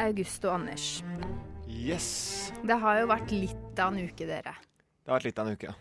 August og Anders. Yes! Det har jo vært litt av en uke, dere. Det har vært litt av en uke.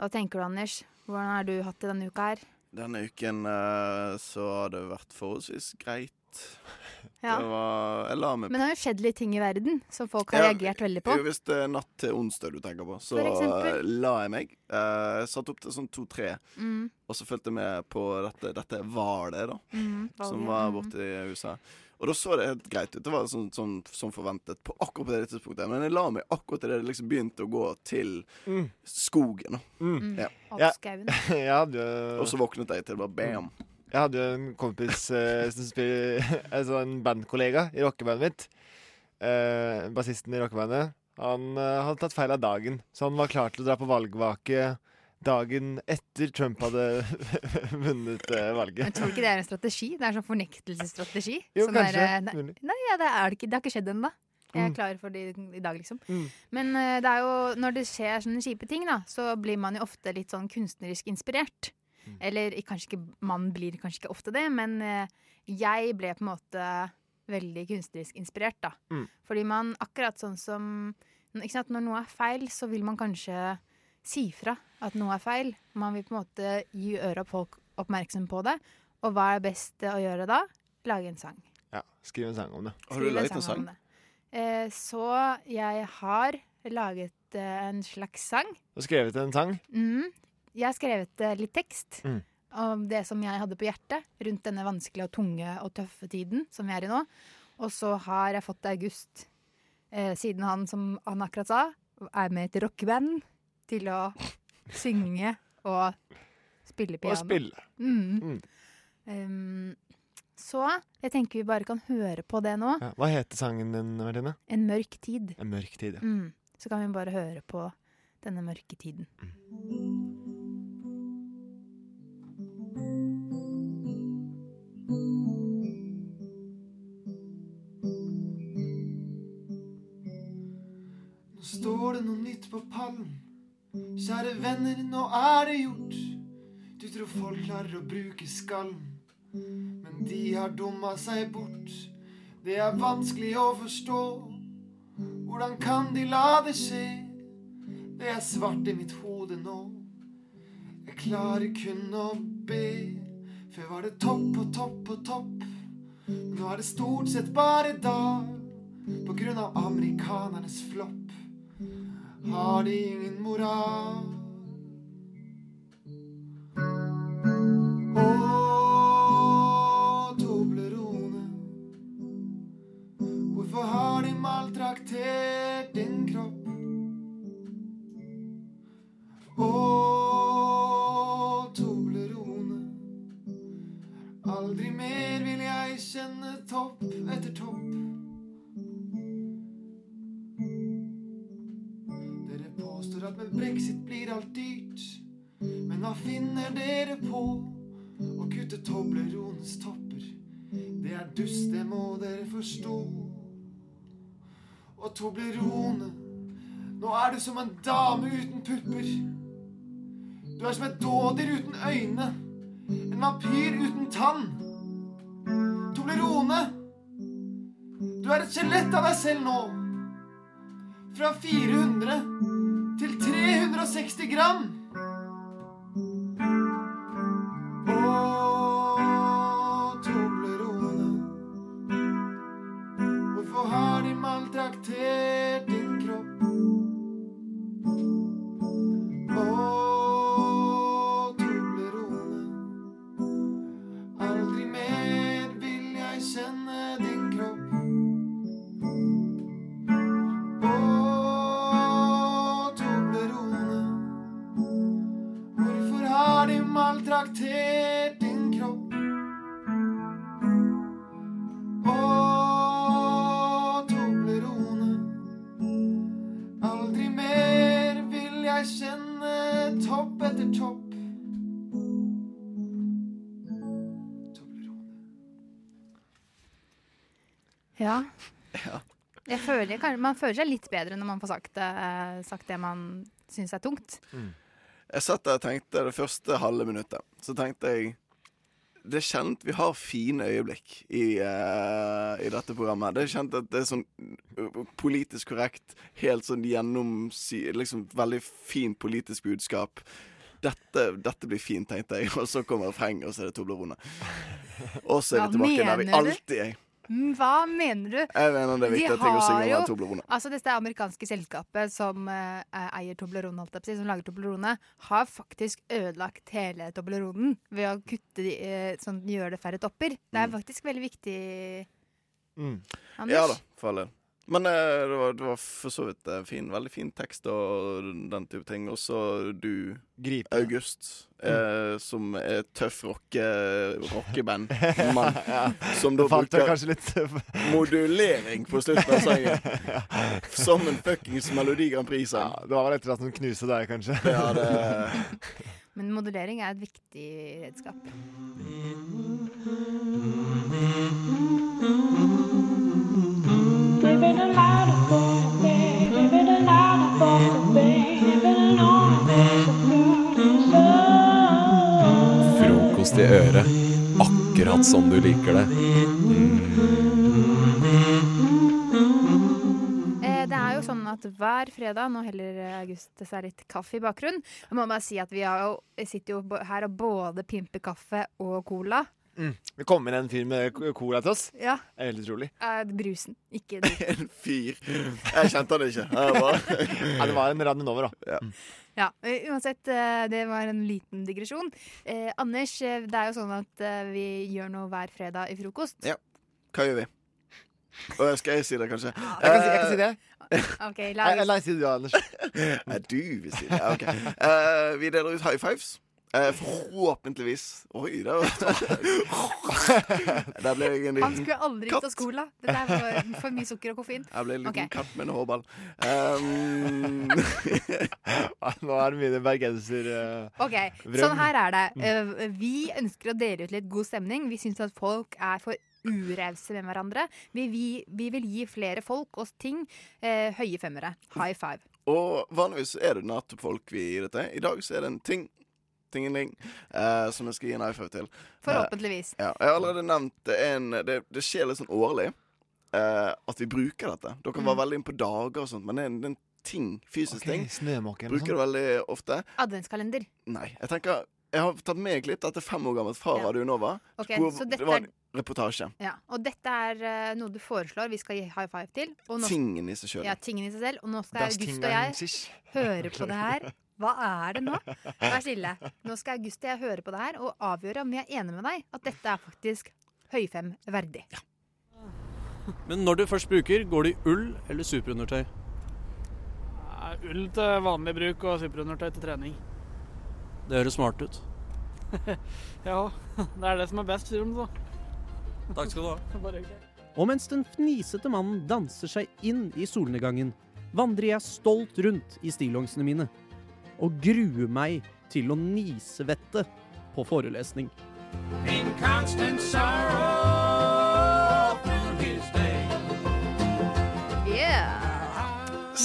Hva tenker du, Anders? Hvordan har du hatt det denne uka her? Denne uken eh, så har det vært forholdsvis greit. Ja. Det var Jeg la meg Men det har jo skjedd litt ting i verden som folk har Ja, reagert veldig Det på. er jo visst eh, natt til onsdag du tenker på. Så For eksempel? eh, la jeg meg. Eh, Jeg satt opp til sånn to-tre, Mm, og så fulgte jeg med på dette, dette var det, da. mm, Som valget. var Mm. borte i USA. Og da så det helt greit ut. Det var sånn, sånn som forventet på akkurat det tidspunktet. Men jeg la meg akkurat til det liksom begynte å gå til Mm. skogen. da. Mm. Ja. Opp Ja. skauen. Jeg hadde, Og så våknet jeg til bare bam. jeg hadde jo en kompis eh, som spiller altså En bandkollega i rockebandet mitt. Eh, bassisten i rockebandet. Han eh, hadde tatt feil av dagen, så han var klar til å dra på valgvake dagen etter Trump hadde vunnet eh, Men valget. tror du ikke det er en strategi? Det er en sånn fornektelsesstrategi. Jo, Sånn kanskje. der, nei, Mulig. nei, ja, det, er det, ikke, det har ikke skjedd ennå. Jeg er Mm. klar for det i dag, liksom. Mm. Men eh, det er jo, når det skjer sånne kjipe ting, da, så blir man jo ofte litt sånn kunstnerisk inspirert. Eller kanskje ikke Man blir kanskje ikke ofte det, men eh, jeg ble på en måte veldig kunstnerisk inspirert, da. Mm. Fordi man akkurat sånn som ikke sant, Når noe er feil, så vil man kanskje si fra at noe er feil. Man vil på en måte gi øret og folk oppmerksom på det. Og hva er best å gjøre da? Lage en sang. Ja, skriv en sang om det. Har du Skrive laget en sang? om det. Eh, så jeg har laget eh, en slags sang. Og skrevet en sang. Mm. Jeg har skrevet eh, litt tekst Mm. om det som jeg hadde på hjertet rundt denne vanskelige og tunge og tøffe tiden som vi er i nå. Og så har jeg fått August, eh, siden han, som han akkurat sa, er med i et rockeband, til å synge og spille Og piano. spille. Mm. Mm. Um, så jeg tenker vi bare kan høre på det nå. Ja. Hva heter sangen din, Martine? En mørk tid. En mørk tid. Ja. Mm. Så kan vi bare høre på denne mørke tiden. Mm. Nå står det noe nytt på pallen. Kjære venner, nå er det gjort. Du tror folk klarer å bruke skallen, men de har dumma seg bort. Det er vanskelig å forstå. Hvordan kan de la det skje? Det er svart i mitt hode nå. Jeg klarer kun å be. Før var det topp og topp og topp. Men nå er det stort sett bare dal. På grunn av amerikanernes flopp har de ingen moral. Å, Toblerone, hvorfor har de maltraktert din kropp? Å, Toblerone, aldri mer vil jeg kjenne topp etter topp. Dere påstår at med brexit blir alt dyrt. Men hva finner dere på? Å kutte Toblerones topper. Det er dust, det må dere forstå. Og Toblerone, nå er du som en dame uten pupper. Du er som et dådyr uten øyne. En vampyr uten tann. Toblerone, du er et skjelett av deg selv nå fra 400 til 360 gram. Å, Toblerone, hvorfor har de maltraktert din kropp? Å, Toblerone, aldri mer vil jeg kjenne din kropp. Å, Toblerone, hvorfor har de maltraktert din kropp? Å, Toblerone, aldri mer vil jeg kjenne topp etter topp. Toblerone. Ja. Ja. Jeg føler, kan- man føler seg litt bedre når man får sagt, det- sagt det man syns er tungt. Jeg satt der og tenkte det første halve minuttet. Så tenkte jeg det er kjent vi har fine øyeblikk i, eh, i dette programmet. Det er kjent at det er sånn eh, politisk korrekt, helt sånn gjennomsy... Liksom veldig fint politisk budskap. Dette, dette blir fint, tenkte jeg, og så kommer refrenget, og så er det Toblerone. Og så er vi Hva tilbake der vi mener du? alltid er. Mm, Hva mener du? Jeg mener det er De viktig ting å har synge jo- med Toblerone. Altså, dette er amerikanske selskapet som eh, eier Toblerone, holdt jeg på å si, som lager Toblerone, har faktisk ødelagt hele Tobleronen ved å kutte de, eh, sånn at de gjør det færre topper. Det er faktisk veldig viktig, Mm. Anders. Ja da, for all del. Men eh, det, var, det var for så vidt eh, fin, veldig fin tekst og den type ting. Og så du, Gripe. Mm. August, eh, som er tøff rocke, eh, rockeband. Mann, som da Da falt jeg bruker kanskje litt modulering på slutten av sangen. Som en fuckings Melodi Grand ja, Prix-sang. Det var vel etter at den knuste deg, kanskje. Ja, det, Men modulering er et viktig redskap. Living a lot of fun, baby. Living a lot of fun, baby. Living a lot of fun. Frokost i øret, akkurat som du liker det. Mm. Eh, det er jo sånn at hver fredag, nå heller eh, August seg litt kaffe i bakgrunnen, jeg må bare si at vi har jo, sitter jo bo- her og både pimper kaffe og cola. Mm. Det kom inn en fyr med k- cola til oss. Ja, Det er Helt utrolig. eh, brusen, ikke det. en fyr. Jeg kjente han ikke. Jeg bare, Ja, det var en rann over, da. Mm. Ja, eh, uansett, eh, det var en liten digresjon. Eh, Anders, eh, det er jo sånn at eh, vi gjør noe hver fredag i frokost. Ja. hva gjør vi? Og skal jeg si det, kanskje? Jeg kan si, jeg kan si det. Eh, Ok, Nei, lag nei, si det du, Anders. Nei, Eh, du vil si det. Ja, ok. Eh, vi deler ut high fives. Eh, forhåpentligvis. Oi, der, var- der ble jeg en Han liten, skulle aldri ut av Katt. skolen. Det der var for mye sukker og koffein. jeg ble en liten Ok. katt med en hårball. Um, Ja, Nå er det mine bergenser eh, Ok, Sånn her er det. Mm. Eh, Vi ønsker å dele ut litt god stemning. Vi syns at folk er for urause med hverandre. Vi, vi, vi vil gi flere folk og ting eh, høye femmere. High five. og vanligvis er det nettopp folk vi gir det til. I dag så er det en ting. Tingeling, eh, som jeg skal gi en high five til. Forhåpentligvis. Ja, jeg har allerede nevnt det, er en, det, det skjer litt sånn årlig eh, at vi bruker dette. Dere Mm. var veldig inne på dager og sånt, men det er en, det er en ting, fysisk Ok, ting. Snømåke eller noe Bruker sånt. det veldig ofte. Adventskalender. Nei. Jeg tenker Jeg har tatt med et klipp. Dette er fem år gammelt fra Ja. Radio Nova. Ok, hvor så det dette var er, en reportasje. ja. Og dette er eh, noe du foreslår vi skal gi high five til. Og nå, Tingen i seg sjøl. ja, tingen i seg selv. Og nå skal Das August Ting og jeg Sisch. høre på det her. Hva er det nå? Vær stille. Nå skal August og jeg høre på det her og avgjøre om vi er enige med deg at dette er faktisk høyfem verdig. Men når du først bruker, går det i ull eller superundertøy? Ja, Ull til vanlig bruk og superundertøy til trening. Det høres smart ut. Ja, det er det som er best, sier de så. Takk skal du ha. Bare hyggelig. Og mens den fnisete mannen danser seg inn i solnedgangen, vandrer jeg stolt rundt i stillongsene mine og gruer meg til å nisvette på forelesning. Yeah!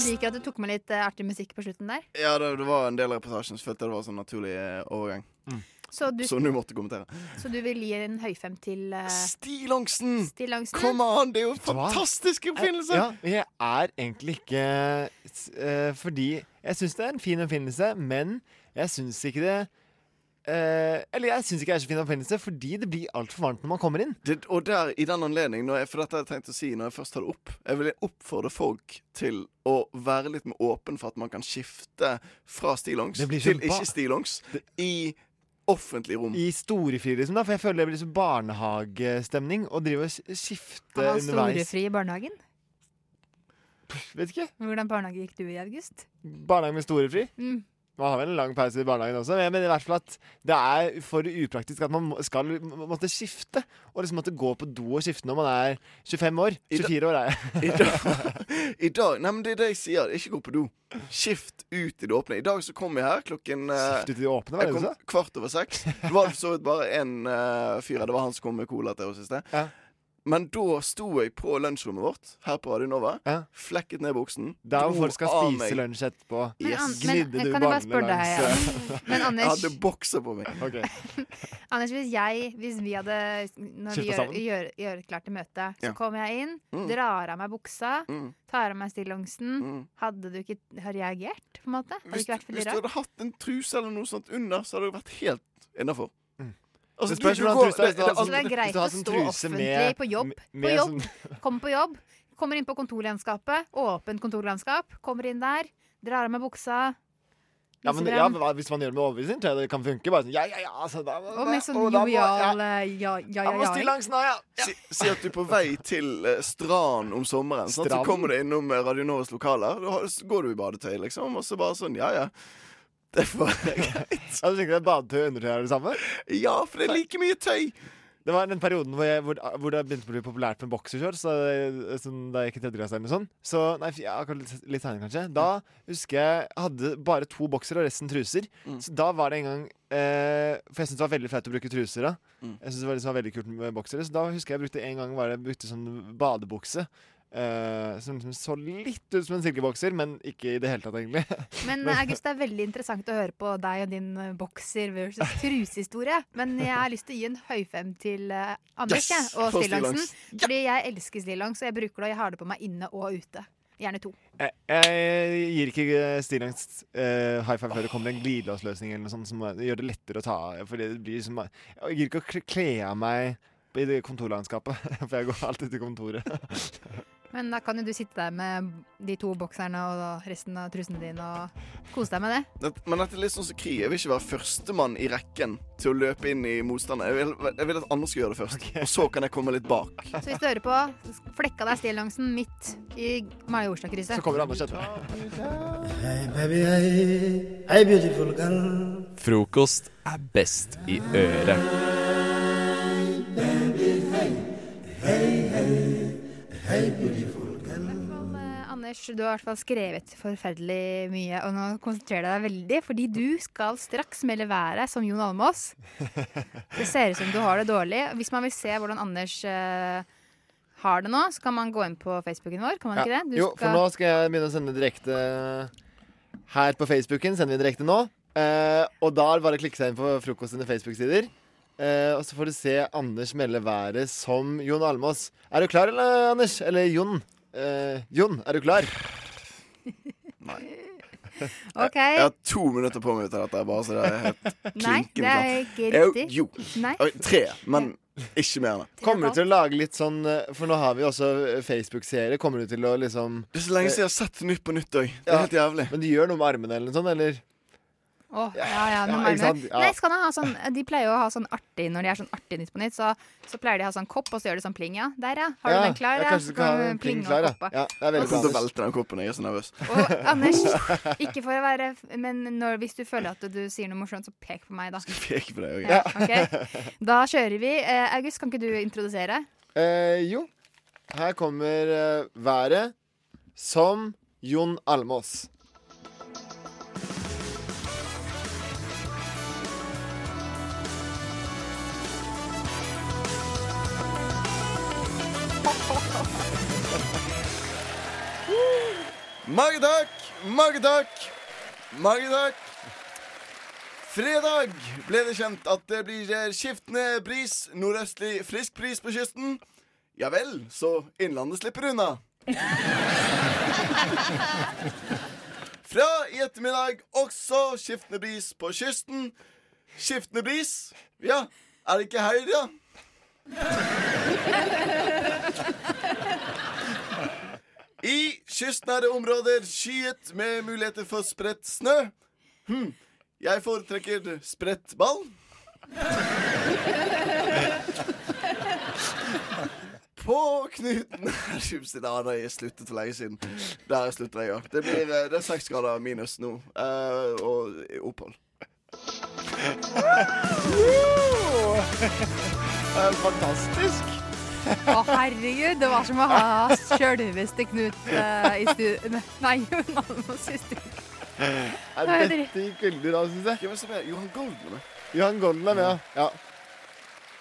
Liker at du tok med litt eh, artig musikk på slutten der. Ja, det, det var en del av reportasjen, så følte jeg det var sånn naturlig eh, overgang. Mm. Så du, Som du måtte kommentere. så du vil gi en høyfem til uh, Stillongsen! Stillangsen? Kom an, det er jo en Hva? Eh, fantastisk oppfinnelse! Ja, jeg er egentlig ikke eh, Fordi jeg syns det er en fin oppfinnelse, men jeg syns ikke det eh, Eller jeg syns ikke det er så fin oppfinnelse, fordi det blir altfor varmt når man kommer inn. Det, og der, i den anledning, når jeg, for dette har jeg tenkt å si når jeg først tar det opp Jeg vil oppfordre folk til å være litt mer åpen for at man kan skifte fra stillongs Det blir så til ba- ikke stillongs i offentlig rom. I storefri, liksom, da, for jeg føler det blir sånn barnehagestemning. Å drive og s- skifte Han var underveis. storefri i barnehagen. Vet ikke. Hvordan barnehage gikk du i august? Barnehage med storefri. Mm. Man har vel en lang pause i barnehagen også, men jeg mener i hvert fall at det er for upraktisk at man må- skal må- måtte skifte. Og liksom måtte gå på do og skifte når man er 25 år. I da- 24 år er jeg. I dag, I dag Nei, men det er det jeg sier. Ikke gå på do. Skift ut i det åpne. I dag så kom jeg her klokken eh, Skifte til det åpne, var Jeg det du kom sa? eh, kvart over seks. Det var for så vidt bare én fyr her. Det var han som kom med cola til oss i sted. Ja. Men da sto jeg på lunsjrommet vårt her på Radio Nova, Ja. flekket ned buksen. Der dro hvor folk skal av spise meg- lunsj etterpå. Men, Yes. an, men Gnidde du kan jeg bare barnene spørre deg, langs, eh. ja. men Jeg Anders, hadde bokser på meg. Ok. Anders hvis, jeg, hvis vi hadde Når vi Kjørt gjør, oss gjør, gjør klart til møte, så Ja. kommer jeg inn, Mm. drar av meg buksa, Mm, tar av meg stillongsen. mm. Hadde du ikke har reagert, på en måte? Hadde det Hvis, ikke vært hvis veldig du rart? hadde hatt en truse eller noe sånt under, så hadde du vært helt innafor. Mm. Altså, Det spørs du- du hvordan går- trusa er. altså, Hvis det- altså, det- du Så det hadde- er greit hvis du å hadde en stå truse offentlig med- sånn på jobb. med På jobb. sånn- Kommer på jobb, kommer inn på kontorlandskapet, åpent kontorlandskap, kommer inn der, drar av meg buksa. ja, men, viser ja, frem. men hva- hvis man gjør det med overbevisning, tror jeg det kan funke. Bare sånn, ja, ja, ja, altså, da, da, og med sånn å, da må- ja, jovial eh, ja, ja, Jeg må ja, ja. stillongsen nå, ja! Si, si at du er på vei til eh, Strand om sommeren. Sant? Så Strand? kommer du innom eh, Radio Novas lokaler, da har- så går du i badetøy, liksom, og så bare sånn Ja, ja. Det får jeg. Ja, du tenker at badetøy og undertøy er det samme? Ja, for det er like mye tøy! Det var den perioden hvor, jeg, hvor, hvor det begynte å bli populært med boksershorts. Da, jeg- sånn, da jeg gikk i tredje klasse eller noe sånt. Så, nei, fy- ja, akkurat litt, litt senere, kanskje. Da husker jeg hadde bare to boksere og resten truser. Mm. Så da var det en gang eh, For jeg syntes det var veldig flaut å bruke truser da. Mm. Jeg syntes det var, liksom, var veldig kult med boksere, så da husker jeg jeg brukte en gang var det jeg brukte sånn badebukse. eh, som liksom så litt ut som en silkebokser, men ikke i det hele tatt, egentlig. Men eh, August, det er veldig interessant å høre på deg og din eh, bokser versus trusehistorie. Men jeg har lyst til å gi en høyfem til eh, Anders jeg, og For stillongsen. stillongs. Fordi jeg elsker stillongs, og jeg bruker det og jeg har det på meg inne og ute. Gjerne to. Jeg, jeg gir ikke eh, stillongs eh, high five før det kommer en glidelåsløsning eller noe sånt som eh, gjør det lettere å ta av. For det blir liksom, jeg gir ikke å kle- kle av meg i det kontorlandskapet, for jeg går alltid til kontoret. Men da kan jo du sitte der med de to bokserne og resten av trusene dine og kose deg med det. Det- Men dette er litt sånn som krig. Jeg vil ikke være førstemann i rekken til å løpe inn i motstanderen. Jeg vil, jeg vil at andre skal gjøre det først. Og så kan jeg komme litt bak. Så hvis du hører på, flekka deg stillongsen midt i Så Majorstadkrysset. kommer Anders etterpå. Frokost er best i øret. Men, eh, Anders, du har i hvert fall skrevet forferdelig mye, og nå konsentrerer jeg deg veldig, fordi du skal straks melde været som Jon Almaas. Det ser ut som du har det dårlig. Hvis man vil se hvordan Anders eh, har det nå, så kan man gå inn på Facebooken vår, kan man ikke det? Du Jo, for skal- nå skal jeg begynne å sende direkte her på Facebooken. Sender vi direkte nå. Eh, og da er det bare å klikke seg inn på Frokost sine Facebook-sider. Eh, og så får du se Anders melde været som Jon Almås. Er du klar, eller, Anders? Eller Jon? Eh, Jon, er du klar? Ok, Jeg har to minutter på meg til dette. Bare så det er helt nei, klinkende det er ikke klart. riktig. sånn. Jo. jo. Nei, Oi, Tre, men ikke mer enn det. Kommer du til å lage litt sånn eh, For nå har vi jo også Facebook-seere. Kommer du til å liksom Det er så lenge siden jeg har sett Nytt på nytt òg. Det er Ja. helt jævlig. Men du gjør noe med armene eller noe sånt, eller? Åh, ja, ja, Ja, nå nærmer ikke sant? jeg. Ja. Nei, skal han ha sånn, de pleier jo å ha sånn artig Når de er sånn artig nytt på nytt Så, så pleier de å ha sånn kopp, og så gjør de sånn pling ja. Der ja, har du Ja, den klar? ja, Ja, Kanskje du skal ha en pling og klar, ja. koppa. ja det er veldig bra, Jeg kommer til å Anders. velte den koppen. Jeg er så nervøs. Og Anders, ikke for å være Men når, hvis du føler at du sier noe morsomt, så pek på meg, da. Pek på deg. ok? Ja, ok. Da kjører vi. Eh, August, kan ikke du introdusere? Eh, jo, her kommer eh, været som Jon Almås. Mange takk, mange takk, mange takk. Fredag ble det kjent at det blir skiftende bris, nordøstlig frisk bris på kysten. Ja vel, så Innlandet slipper unna. Fra i ettermiddag også skiftende bris på kysten. Skiftende bris? Ja, er det ikke helg, da? I kystnære områder skyet med muligheter for spredt snø. Hm. Jeg foretrekker spredt ball. På Knuten Herregud, Da har jeg sluttet for lenge siden. Der slutter jeg òg. Det blir eh, det er seks grader minus nå. eh, og opphold. Eh, fantastisk! Å, herregud, det var som å ha sjølveste Knut eh, i studio Nei, Jon Almaas i studio. Eh, Nei, det- dette gikk veldig bra, syns jeg. Hvem er det som er Johan Goldman? Johan Golden er med, ja. ja.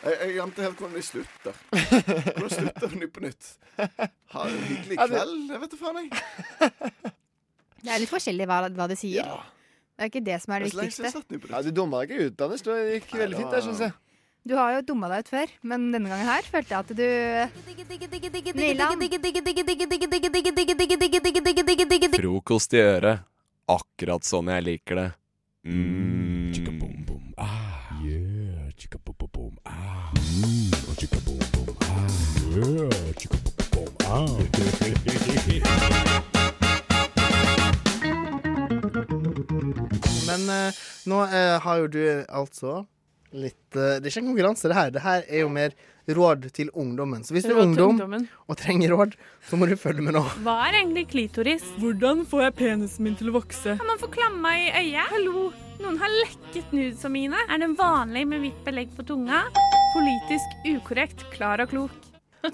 Jeg, jeg glemte helt hvordan de slutter. Hvordan slutter de på nytt? Ha en hyggelig Ja, det- kveld? Jeg vet da faen, jeg. Det er litt forskjellig hva, hva de sier. Ja, Det er ikke det som er det det er så lenge siden jeg har viktigste. sett dem på Ja, nytt. du dumma deg ikke ut, Anders. Det gikk veldig fint, der, syns jeg. Du har jo dumma deg ut før, men denne gangen her følte jeg at du Nilan. Frokost i øret. Akkurat sånn jeg liker det. Mm. Mmm, Ah, Men eh, nå eh, har jo du altså litt eh, Det er ikke en konkurranse, det her. Det her er jo mer råd til ungdommen. Så hvis du er ungdom og trenger råd, så må du følge med nå. Hva er egentlig klitoris? Hvordan får jeg penisen min til å vokse? Kan man få klamma i øyet? Hallo, noen har lekket nudesa mine. Er den vanlig med hvitt belegg på tunga? Politisk ukorrekt, klar og klok.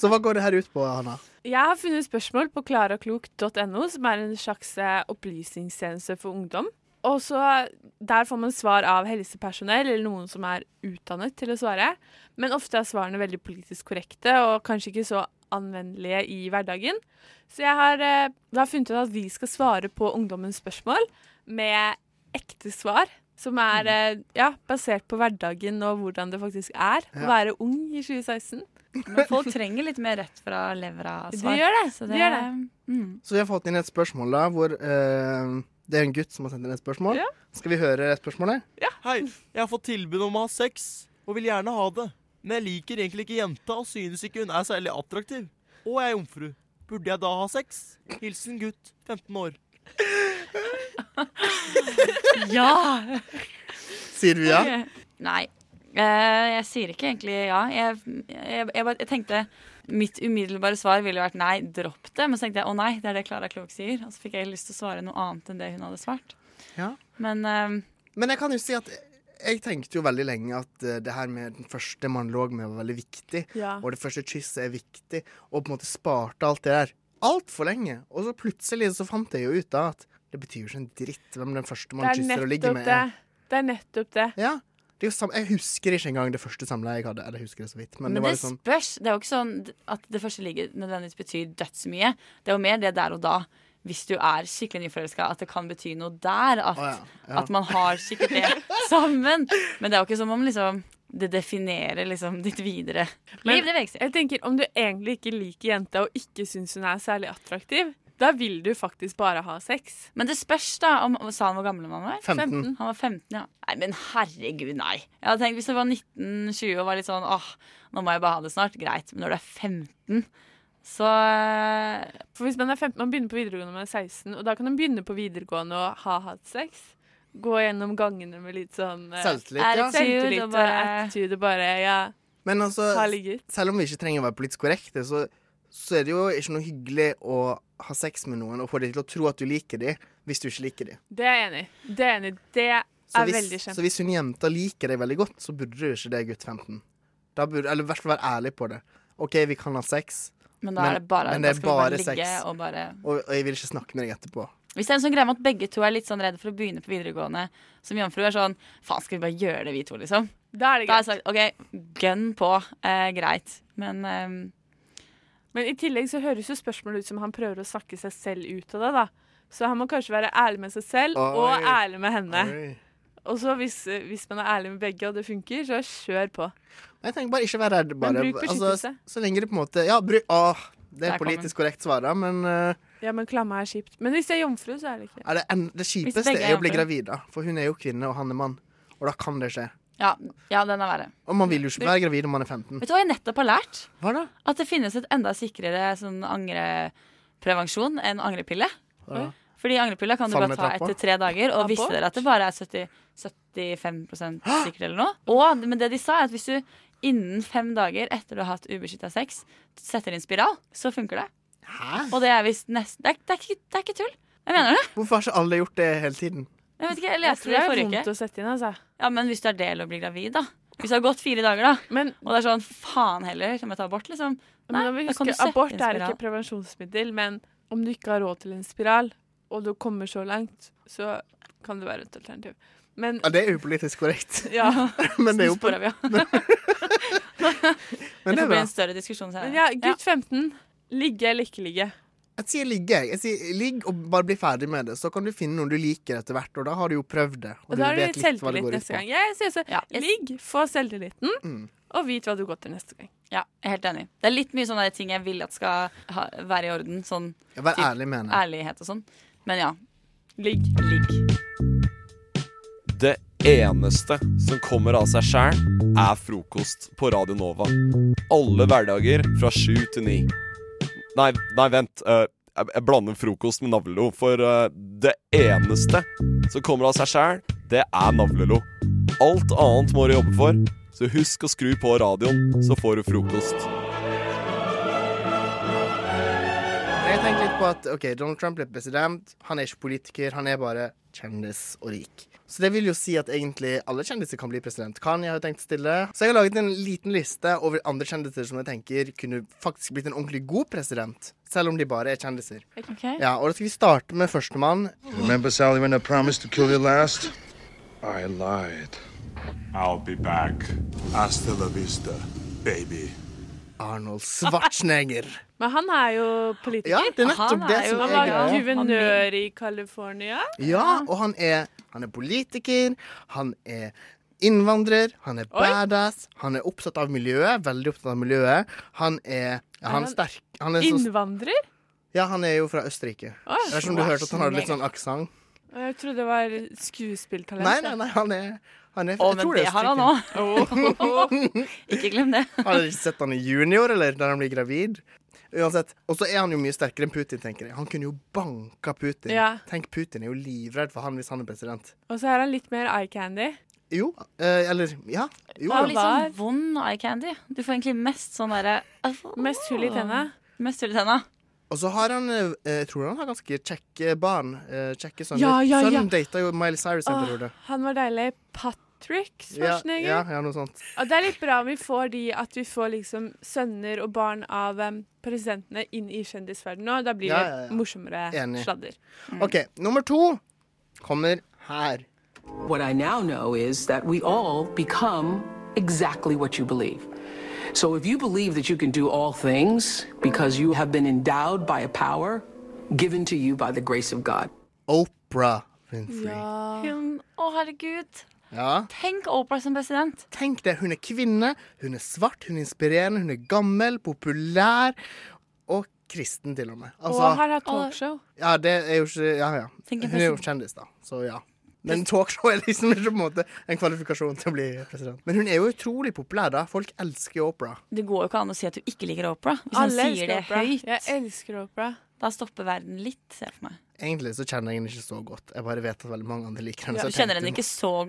Så hva går det her ut på, Hanna? Jeg har funnet spørsmål på klaraklok.no, som er en slags eh, opplysningstjeneste for ungdom. Og så Der får man svar av helsepersonell eller noen som er utdannet til å svare. Men ofte er svarene veldig politisk korrekte og kanskje ikke så anvendelige i hverdagen. Så jeg har eh, da funnet ut at vi skal svare på ungdommens spørsmål med ekte svar. Som er eh, ja, basert på hverdagen og hvordan det faktisk er å Ja. være ung i 2016. Men folk trenger litt mer rett fra levra svar. Det gjør det. Så det gjør det. Mm. Så vi har fått inn et spørsmål, da, hvor eh, det er en gutt som har sendt inn et spørsmål. Ja. Skal vi høre spørsmålet? Hei, jeg har fått tilbud om å ha sex, og vil gjerne ha det. Men jeg liker egentlig ikke jenta og synes ikke hun er særlig attraktiv. Og jeg er jomfru. Burde jeg da ha sex? Hilsen gutt, 15 år. Ja! Sier du ja? Ah! Nei. Eh, jeg sier ikke egentlig ja. Jeg, jeg, jeg, bare- jeg tenkte Mitt umiddelbare svar ville jo vært nei, dropp det. Men så tenkte jeg å nei, det er det Klara Klok sier. Og så fikk jeg lyst til å svare noe annet enn det hun hadde svart. Ja. Men eh, Men jeg kan jo si at jeg tenkte jo veldig lenge at eh, det her med den første man lå med, var veldig viktig. Ja. Og det første kysset er viktig, og på en måte sparte alt det der altfor lenge. Og så plutselig så fant jeg jo ut da at det betyr jo ikke en dritt hvem den første man Det er kysser og ligger nettopp med. det. er. Det er nettopp det. Ja. Det er jo sam jeg husker ikke engang det første samleiet jeg hadde. Eller jeg husker det så vidt. Men, Men det var det liksom spørs. Det er jo ikke sånn at det første ligget nødvendigvis betyr dødsmye. Det er jo mer det der og da. Hvis du er skikkelig nyforelska, at det kan bety noe der. At, ja. at man har sikkert det sammen. Men det er jo ikke som om liksom, det definerer liksom, ditt videre liv. Det virker jeg tenker, Om du egentlig ikke liker jenta og ikke syns hun er særlig attraktiv, da vil du faktisk bare ha sex. Men det spørs, da. Om, om- sa han hvor gammel han var? 15. Han var 15, ja. Nei, men herregud, nei. Jeg hadde tenkt, Hvis du var 19-20 og var litt sånn åh, nå må jeg bare ha det snart. Greit. Men når du er 15, så eh, For hvis man er 15, man begynner på videregående når man er 16, og da kan man begynne på videregående og ha hatt sex. Gå gjennom gangene med litt sånn eh, Selvtillit, ja. Selvtillit Attitude og og bare- attitude og bare Ja. Men altså, Ha ligget. selv om vi ikke trenger å være politisk korrekte, så, så er det jo ikke noe hyggelig å ha sex med noen og få dem til å tro at du liker dem, hvis du ikke liker dem. Det er jeg enig i. Det er jeg enig i. Det Så er veldig hvis, kjent. så hvis hun jenta liker deg veldig godt, så burde du ikke det, gutt 15. Da burde, eller i hvert fall være ærlig på det. OK, vi kan ha sex, Men da er det bare- men det da er skal vi bare bare ligge sex. og bare- og, og jeg vil ikke snakke med deg etterpå. Hvis det er en sånn greie med at begge to er litt sånn redd for å begynne på videregående som jomfru, er sånn Faen, skal vi bare gjøre det, vi to, liksom? Da er det Da har jeg sagt OK, gønn på. Eh, greit. Men eh, Men i tillegg så høres jo spørsmålet ut som han prøver å snakke seg selv ut av det, da. Så han må kanskje være ærlig med seg selv Oi. og ærlig med henne. Oi. Og så hvis, hvis man er ærlig med begge, og det funker, så kjør på. Jeg tenker bare ikke være redd. Bare, Men bruk beskyttelse. Altså, så lenge det på en måte Ja, bruk Åh, det Der er kom den. politisk korrekt svar, da, men eh, Ja, men klamme er kjipt. Men hvis jeg er jomfru, så er det ikke. er det, en, det kjipeste begge er er å bli jenter. gravid, da. For hun er jo kvinne, og han er mann. Og da kan det skje. ja, ja, den er verre. Og man vil jo ikke Det- være gravid når man er 15. Vet du hva jeg nettopp har lært? Hva da? At det finnes et enda sikrere sånn angreprevensjon enn angrepille. Ja. Fordi angrepille kan du bare Faller med ta trappa? etter tre dager. Og Trappa? visste dere at det bare er 70, 75 sikkert eller noe? Og, men det de sa, er at hvis du innen fem dager etter du har hatt ubeskytta sex, setter inn spiral, så funker det. Og det er visst nesten det er, det, er ikke, det er ikke tull. Jeg mener det. Hvorfor har ikke alle gjort det hele tiden? Jeg vet ikke, jeg Jeg leste tror det det i er forrige vondt uke. å sette inn, altså. Ja, men hvis du er del og blir gravid, da. Hvis det har gått fire dager, da. og det er sånn faen heller, skal jeg ta abort, liksom? Men da må vi da kan du huske, sette abort er inn spiral. ikke prevensjonsmiddel, men om du ikke har råd til en spiral, og du kommer så langt, så kan det være et alternativ. Men Ja, det er upolitisk korrekt. Ja. men det er jo Sporer vi, ja. Men det det får er bli bra. en større diskusjon senere. Men ja, gutt 15. Ligge eller ikke ligge? Jeg sier ligge, jeg. jeg sier ligg og bare bli ferdig med det. Så kan du finne noen du liker etter hvert, og da har du jo prøvd det. Og da har du vet litt litt hva det selvtillit går ut neste på. gang. Jeg sier så, Ligg, få selvtilliten, Mm. og vit hva du går til neste gang. Ja, jeg er helt enig. Det er litt mye sånne ting jeg vil at skal ha, være i orden. Sånn Ja, vær typ ærlig, mener jeg. ærlighet og sånn. Men ja. Ligg. Ligg. Det eneste som kommer av seg sjæl, er frokost på Radio Nova. Alle hverdager fra sju til ni. Nei, nei vent. eh, jeg jeg blander frokost med navlelo, for eh, det eneste som kommer av seg sjæl, det er navlelo. Alt annet må du jobbe for, så husk å skru på radioen, så får du frokost. Jeg tenker litt på at ok, Donald Trump er president. Han er ikke politiker, han er bare kjendis og rik. Så det vil jo si at egentlig alle kjendiser kan bli president. Kan jeg har jo tenkt å stille. Så jeg har laget en liten liste over andre kjendiser som jeg tenker kunne faktisk blitt en ordentlig god president. Selv om de bare er kjendiser. Ja, og da skal vi starte med førstemann. Remember, Sally, when I promised to kill you last? I lied. I'll be back. Hasta la vista, baby. Arnold Schwarzenegger. Men han er jo politiker. Ja, det er nettopp han det er jo som er var greia. guvernør i California. Ja, og han er, han er politiker, han er innvandrer, han er badass, han er opptatt av miljøet, veldig opptatt av miljøet. Han er, ja, han han er sterk. Han er så, Innvandrer? ja, han er jo fra Østerrike. Oi. Jeg vet ikke om du hørte at han hadde litt sånn aksent. Og Jeg trodde det var skuespilltalent. Nei, nei, nei, han er, han er Å, jeg men tror det er har han Østerrike. Ikke glem det. Har dere ikke sett han i junior, eller der han blir gravid? Uansett, Og så er han jo mye sterkere enn Putin, tenker jeg. Han kunne jo banka Putin. Ja. Tenk, Putin er jo livredd for han hvis han er president. Og så har han litt mer eye candy. Jo, eh, eller Ja. Jo, det er da. jo litt sånn vond eye candy. Du får egentlig mest sånn derre Mest hull i tennene. Mest hull i tenna. Og så har han eh, Jeg tror han har ganske kjekke barn. eh, Kjekke sønner. Ja, ja, ja. Sønnen data jo Miley Cyrus en Åh, periode. han var deilig. Patrick Ja, Schwarzenegger. ja, ja, noe sånt. Og det er litt bra om vi får de at vi får liksom sønner og barn av em, presidentene inn i kjendisverdenen nå. Da blir det Ja, ja, ja. morsommere Enig. sladder. Mm. OK, nummer to kommer her. What I now know is that we all become exactly what you believe. So if you believe that you can do all things because you have been endowed by a power given to you by the grace of God. Oprah Winfrey. Hun, å, herregud. Ja. Tenk Oprah som president. Tenk det. Hun er kvinne, hun er svart, hun er inspirerende, hun er gammel, populær og kristen, til og med. Altså, og har hatt talkshow. Ja, det er jo ikke Ja, ja. Tenk en Hun er jo president. kjendis, da, så ja. Men talkshow er liksom ikke på en måte en kvalifikasjon til å bli president. Men hun er jo utrolig populær, da. Folk elsker Oprah. Det går jo ikke an å si at du ikke liker Opera. Hvis Alle hun sier det elsker Oprah. høyt. Jeg elsker Oprah. Da stopper verden litt, ser jeg for meg. Egentlig så kjenner jeg henne ikke så godt. Jeg bare vet at veldig mange andre liker henne. Ja, du så jeg kjenner tenkte- henne ikke så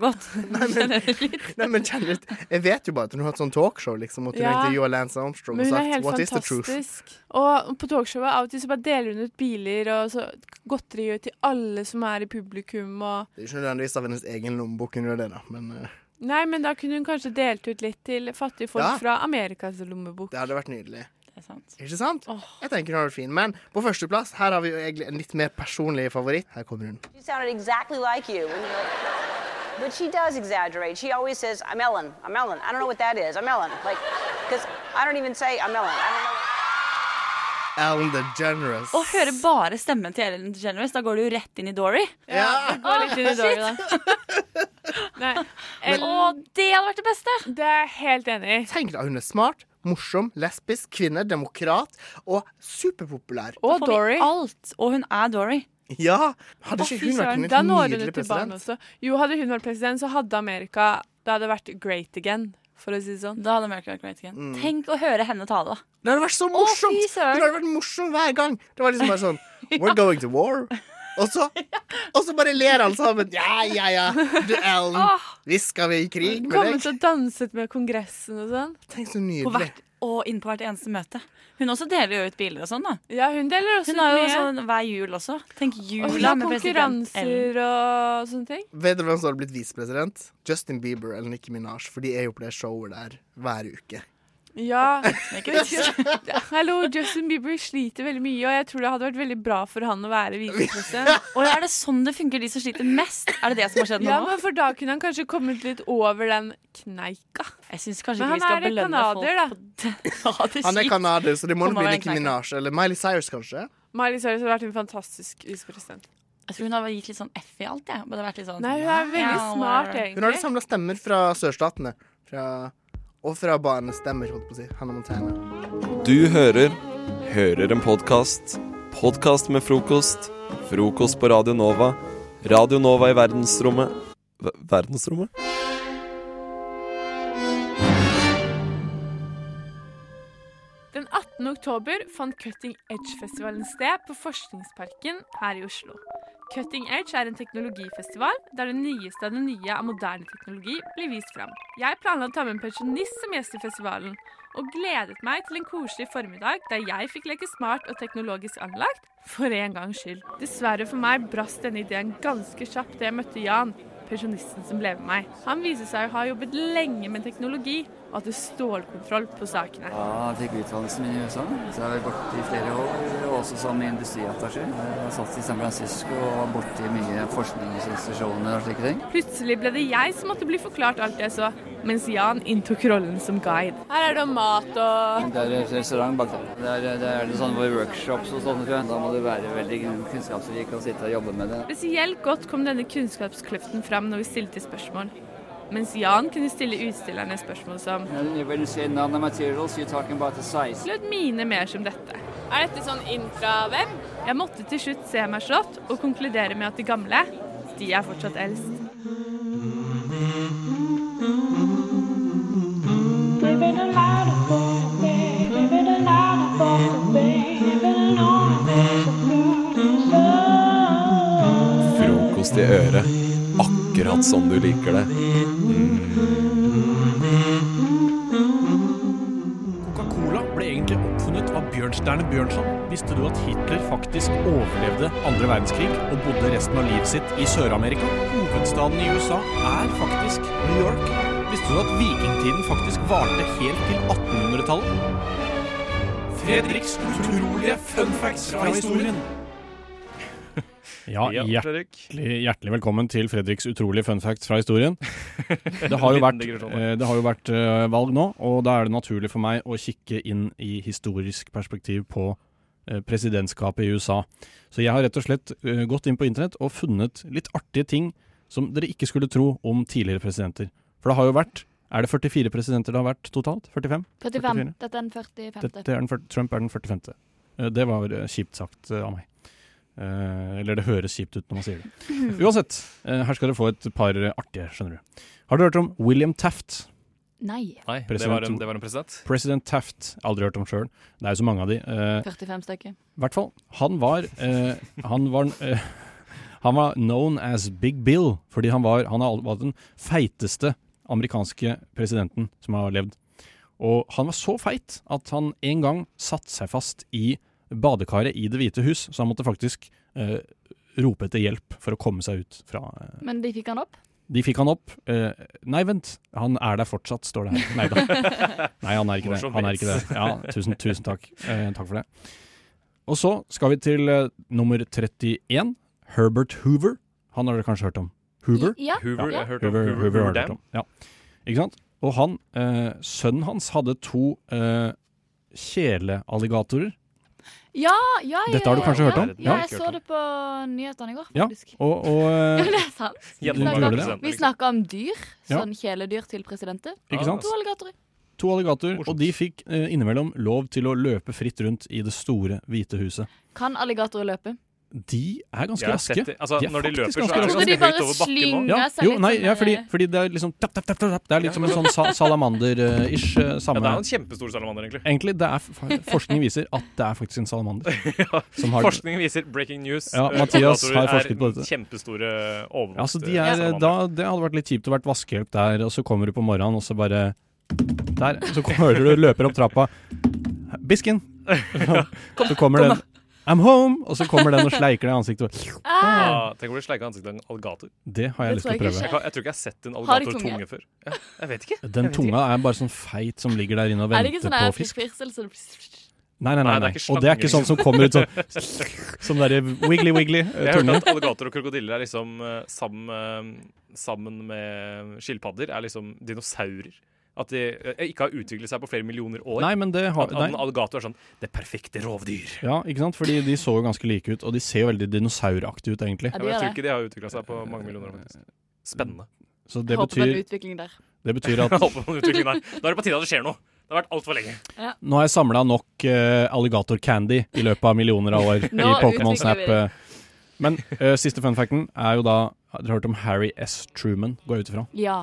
godt. Nei, men kjenner litt. Jeg vet jo bare at hun har et sånt talkshow, liksom, og at hun Ja. intervjua Lance Armstrong og Men hun er sagt helt What is the truth? fantastisk. Og på talkshowet av og til så bare deler hun ut biler og så godteri til alle som er i publikum. Og... Det er ikke nødvendigvis av hennes egen lommebok hun gjør det, da, men eh, Nei, men da kunne hun kanskje delt ut litt til fattige folk Ja. fra Amerikas lommebok. det hadde vært nydelig. Det er sant. Ikke sant? Jeg tenker hun har vært fin. Men på førsteplass, her har vi jo egentlig en litt mer personlig favoritt. Her kommer hun. She sounded exactly like you. And you're like, but she does exaggerate. She always says, I'm Ellen. I'm Ellen. I don't know what that is. I'm Ellen. Like, because I don't even say I'm Ellen. I Alan the Generous. Å høre bare stemmen til Ellen DeGeneres, da går du jo rett inn i Dory. Ah, Ja, det går litt inn i Dory, da. Nei. Å, det hadde vært det beste! Det er jeg helt enig i. Tenk deg, hun er smart, morsom, lesbisk, kvinne, demokrat og superpopulær. Da får vi Alt. Og hun er Dory. Ja! Hadde ikke Fy hun vært søren, en da når hun nydelig ut til barn president? også. Jo, hadde hun vært president, så hadde Amerika Det hadde vært great again, for å si det sånn. Da hadde America vært great again. Mm. Tenk å høre henne tale, da. Det hadde vært så morsomt! det hadde vært morsomt hver gang. Det var liksom bare sånn We're going to war. Og så, og så bare ler alle sammen. Ja, ja, ja. Du, Ellen. Visst skal vi i krig med Kommet deg. og danset med Kongressen og sånn. Tenk så På nydelig. hvert, og inn på hvert eneste møte. Hun også deler jo ut biler og sånn, da. Ja, hun deler også Hun har jo ut mye. sånn hver jul også. Tenk Og hun jula har med president Ellen. konkurranser og sånne ting. Vet dere hvem som hadde blitt visepresident? Justin Bieber eller Nicki Minaj, for de er jo på det showet der hver uke. Ja. Hallo, Justin Bieber sliter veldig mye, og jeg tror det hadde vært veldig bra for han å være visepresident. Og er det sånn det funker, de som sliter mest? Er det det som har skjedd nå? Ja, men for da kunne han kanskje kommet litt over den kneika. Jeg syns kanskje Men ikke han vi skal er belønne kanadier, folk på det. Han er canadier, så det må Kom nok over bli den Nicki Minaj. Eller Miley Cyrus, kanskje. Miley Cyrus har vært en fantastisk visepresident. Jeg tror hun har gitt litt sånn F i alt, jeg. Bare vært litt sånn Nei, hun er veldig Ja, smart, whatever. Hun har samla stemmer fra sørstatene. Fra, og fra barnestemmer, holdt på å si. Hannah Montana. Du hører Hører en podkast. Podkast med frokost. Frokost på Radio Nova. Radio Nova i verdensrommet Ver- Verdensrommet? Den 18. oktober fant Cutting Edge-festivalen sted på Forskningsparken her i Oslo. Cutting Edge er en teknologifestival der det nyeste av det nye av moderne teknologi blir vist fram. Jeg planla å ta med en pensjonist som gjest i festivalen, og gledet meg til en koselig formiddag der jeg fikk leke smart og teknologisk anlagt for en gangs skyld. Dessverre for meg brast denne ideen ganske kjapt da jeg møtte Jan, pensjonisten som ble med meg. Han viser seg å ha jobbet lenge med teknologi og hadde stålkontroll på sakene. Ja, jeg fikk utdannelsen min i USA. Så jeg har vært borte i flere år, og også som industriattaché. Jeg har satt i San Francisco og var borte i mye forskningsinstitusjoner og slike ting. Plutselig ble det jeg som måtte bli forklart alt jeg så, mens Jan inntok rollen som guide. Her er det mat og Det er et restaurant bak der. Det er, det er litt sånn våre workshops og sånn, tror jeg. Da må du være veldig kunnskapsrik og sitte og jobbe med det. Spesielt godt kom denne kunnskapskløften fram når vi stilte spørsmål. Mens Jan kunne stille utstillerne spørsmål som And When you say nanomaterials, you're talking about the size. lød mine mer som dette. Er dette sånn intraweb? Jeg måtte til slutt se meg slått og konkludere med at de gamle, de er fortsatt eldst. Living a lot of fun, babe. Living a lot of fun, babe. Living on the blues. Frokost i øret. Akkurat som du liker det. Mm. Coca-Cola ble egentlig oppfunnet av Bjørnstjerne Bjørnson. Visste du at Hitler faktisk overlevde andre verdenskrig og bodde resten av livet sitt i Sør-Amerika? Hovedstaden i USA er faktisk New York. Visste du at vikingtiden faktisk varte helt til 1800-tallet? Fredriks utrolige fun facts fra historien. Ja, Ja, hjertelig, hjertelig velkommen til Fredriks utrolige fun facts fra historien. Det har jo Liten vært, digresjon der. eh, det har jo vært eh, valg nå, og da er det naturlig for meg å kikke inn i historisk perspektiv på eh, presidentskapet i USA. Så jeg har rett og slett eh, gått inn på internett og funnet litt artige ting som dere ikke skulle tro om tidligere presidenter. For det har jo vært Er det 44 presidenter det har vært totalt? 45? 45. Dette er den 45. Dette er den, fyr- Trump er den 45. Eh, Det var eh, kjipt sagt eh, av meg. Eh, eller det høres kjipt ut når man sier det. Uansett, eh, her skal dere få et par eh, artige, skjønner du. Har du hørt om William Taft? Nei. Nei, det var en- det var en president? President Taft, aldri hørt om sjøl. Det er jo så mange av de. Eh, 45 stykker. I hvert fall, han var eh, Han var eh, Han var known as Big Bill, fordi han var, han har al- var den feiteste amerikanske presidenten som har levd. Og han var så feit at han en gang satte seg fast i badekaret i Det hvite hus, så han måtte faktisk eh, rope etter hjelp for å komme seg ut fra eh, Men de fikk han opp. de fikk han opp. Eh, nei, vent, han er der fortsatt, står det her. Nei da. Nei, han er ikke det. Morsom Han er ikke det. vits. Ja, tusen, tusen takk. Eh, takk for det. Og så skal vi til eh, nummer 31. Herbert Hoover. Han har dere kanskje hørt om? Hoover? Ja. Hoover, jeg har hørt om. Hoover, Hoover, Hoover har Hoover dere hørt om. Ja. Ikke sant? Og han, eh, sønnen hans hadde to eh, kjelealligatorer. Ja, ja, ja. Dette har du ja, kanskje ja. hørt om? Ja, Ja. jeg så det på nyhetene i går, Ja, faktisk. og, og eh, Ja, det er sant. Vi Gjennom snakket- gjorde det. Vi snakka om dyr. Ja. Sånn kjæledyr til presidenter. Ikke sant? To alligatorer. To alligatorer, og de fikk eh, innimellom lov til å løpe fritt rundt i det store hvite huset. Kan alligatorer løpe? De er ganske Jeg har raske. sett de- altså, de er når de faktisk løper, så ganske er de ganske raske. Jeg trodde de høyt bare over bakken nå. slynger Ja, seg jo, litt nei, sånn ja, fordi, der- fordi det er liksom tapp, tapp, tapp, tapp, tapp. Det er litt som en sånn sa salamander-ish eh, Ja, samme det er jo en kjempestor salamander, egentlig. Egentlig, det er, f- forskning viser at det er faktisk en salamander. som har- Forskning viser breaking news. Ja, eh, Mathias alligatorer har forsket på er dette. Kjempestore overvokste Ja, så eh, de er, eh, salamander. da, det hadde vært litt kjipt å vært vaskehjelp der, og så kommer du på morgenen, og så bare Der. Så kommer du løper opp trappa. Bisken! Så kommer den. I'm home! Og så kommer den og sleiker deg i ansiktet. Ah, tenk om du sleiker ansiktet av en alligator. Det har jeg lyst til å prøve. Jeg, kan- jeg tror ikke jeg har sett en Har de alligator-tunge tunge? før. Ja, jeg vet ikke. Den jeg vet tunga er bare sånn feit som ligger der inne og Er det ikke venter sånn på der fisk. fiskfirsel? så det- Nei, nei, nei, nei. Nei, det er ikke Og det er ikke sånn som kommer ut sånn Som derre wiggly-wiggly Jeg har tunge. hørt at alligator og krokodiller er liksom eh, sammen, eh, sammen med skilpadder er liksom dinosaurer. At de eh, ikke har utviklet seg på flere millioner år. Nei, men det har- at, at en nei. alligator er sånn det perfekte rovdyr. Ja, ikke sant? Fordi de så jo ganske like ut, og de ser jo veldig dinosauraktige ut, egentlig. Ja, men jeg tror ikke de har utvikla seg på mange millioner år. faktisk. Spennende. Så det Håper på en betyr, utvikling der. det betyr at Jeg håper på en utvikling der. Da er det på tide at det skjer noe. Det har vært altfor lenge. nå har jeg samla nok eh, alligator candy i løpet av millioner av år i Nå Pokémon utvikler Snap. vi. eh. Men eh, siste fun facten er jo da Dere har hørt om Harry S. Truman, går jeg ut ifra? Ja.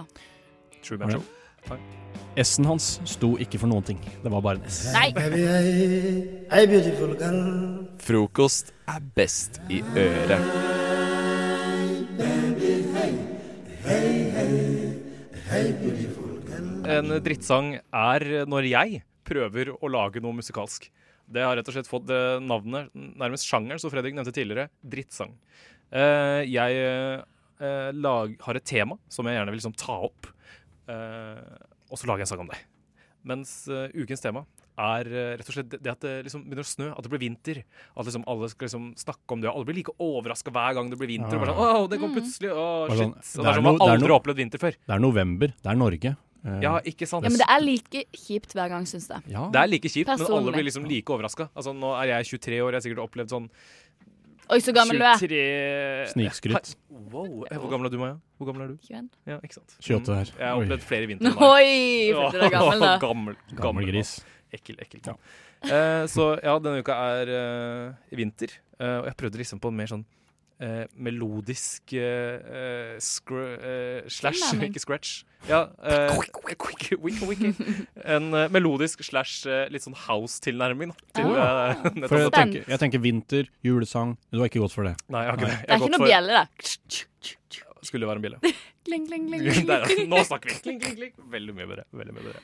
Truman Har dere? Show. S-en hans sto ikke for noen ting. Det var bare en S. Nei. Baby, hey, hey, beautiful girl. Frokost er best i øret. En drittsang er når jeg prøver å lage noe musikalsk. Det har rett og slett fått eh, navnet, nærmest sjangeren, som Fredrik nevnte tidligere, drittsang. Eh, jeg eh, lag, har et tema som jeg gjerne vil liksom ta opp, eh, og så lager jeg en sang om det. Mens eh, ukens tema er eh, rett og slett det at det liksom begynner å snø, at det blir vinter. At liksom alle skal liksom snakke om det, og alle blir like overraska hver gang det blir vinter. Og bare sånn, Åh, det kom plutselig, åh, Mm. Bare shit. sånn, Og det er sånn, no- man det er aldri no- har opplevd vinter før. Det er november. Det er Norge. Eh, Ja, ikke sant? ja, men det er like kjipt hver gang, syns jeg. Det er like kjipt, men alle Personlig. blir liksom like overraska. Altså, nå er jeg 23 år, jeg har sikkert opplevd sånn Oi, så gammel du er. 23 Snikskryt. Hei, Wow. eh, Hvor gammel er du, Maja? Hvor gammel er du? 21. Ja, ikke sant? 28 her. Jeg har Oi. opplevd flere vintre. enn deg. Oi, for du er gammel, da. gammel, Gammel gris. mann. Ekkel, ekkel. mann. Eh, så ja, denne uka er eh, vinter, eh, og jeg prøvde liksom på en mer sånn eh, melodisk eh, eh, scr eh, slash, Tilnærming. ikke scratch. Ja, eh, wiki, wiki, wiki. En eh, melodisk slash eh, litt sånn house-tilnærming. da, Til, Ah. eh, nettopp For jeg dette. tenker, jeg tenker vinter, julesang Du har ikke gått for det. Nei, jeg har ikke det. Det er ikke noe bjelle, da. Skulle det være en bjelle? Kling, kling, kling. kling. Der, ja. Nå snakker vi! Kling, kling, kling. Veldig mye bedre. Veldig mye bedre.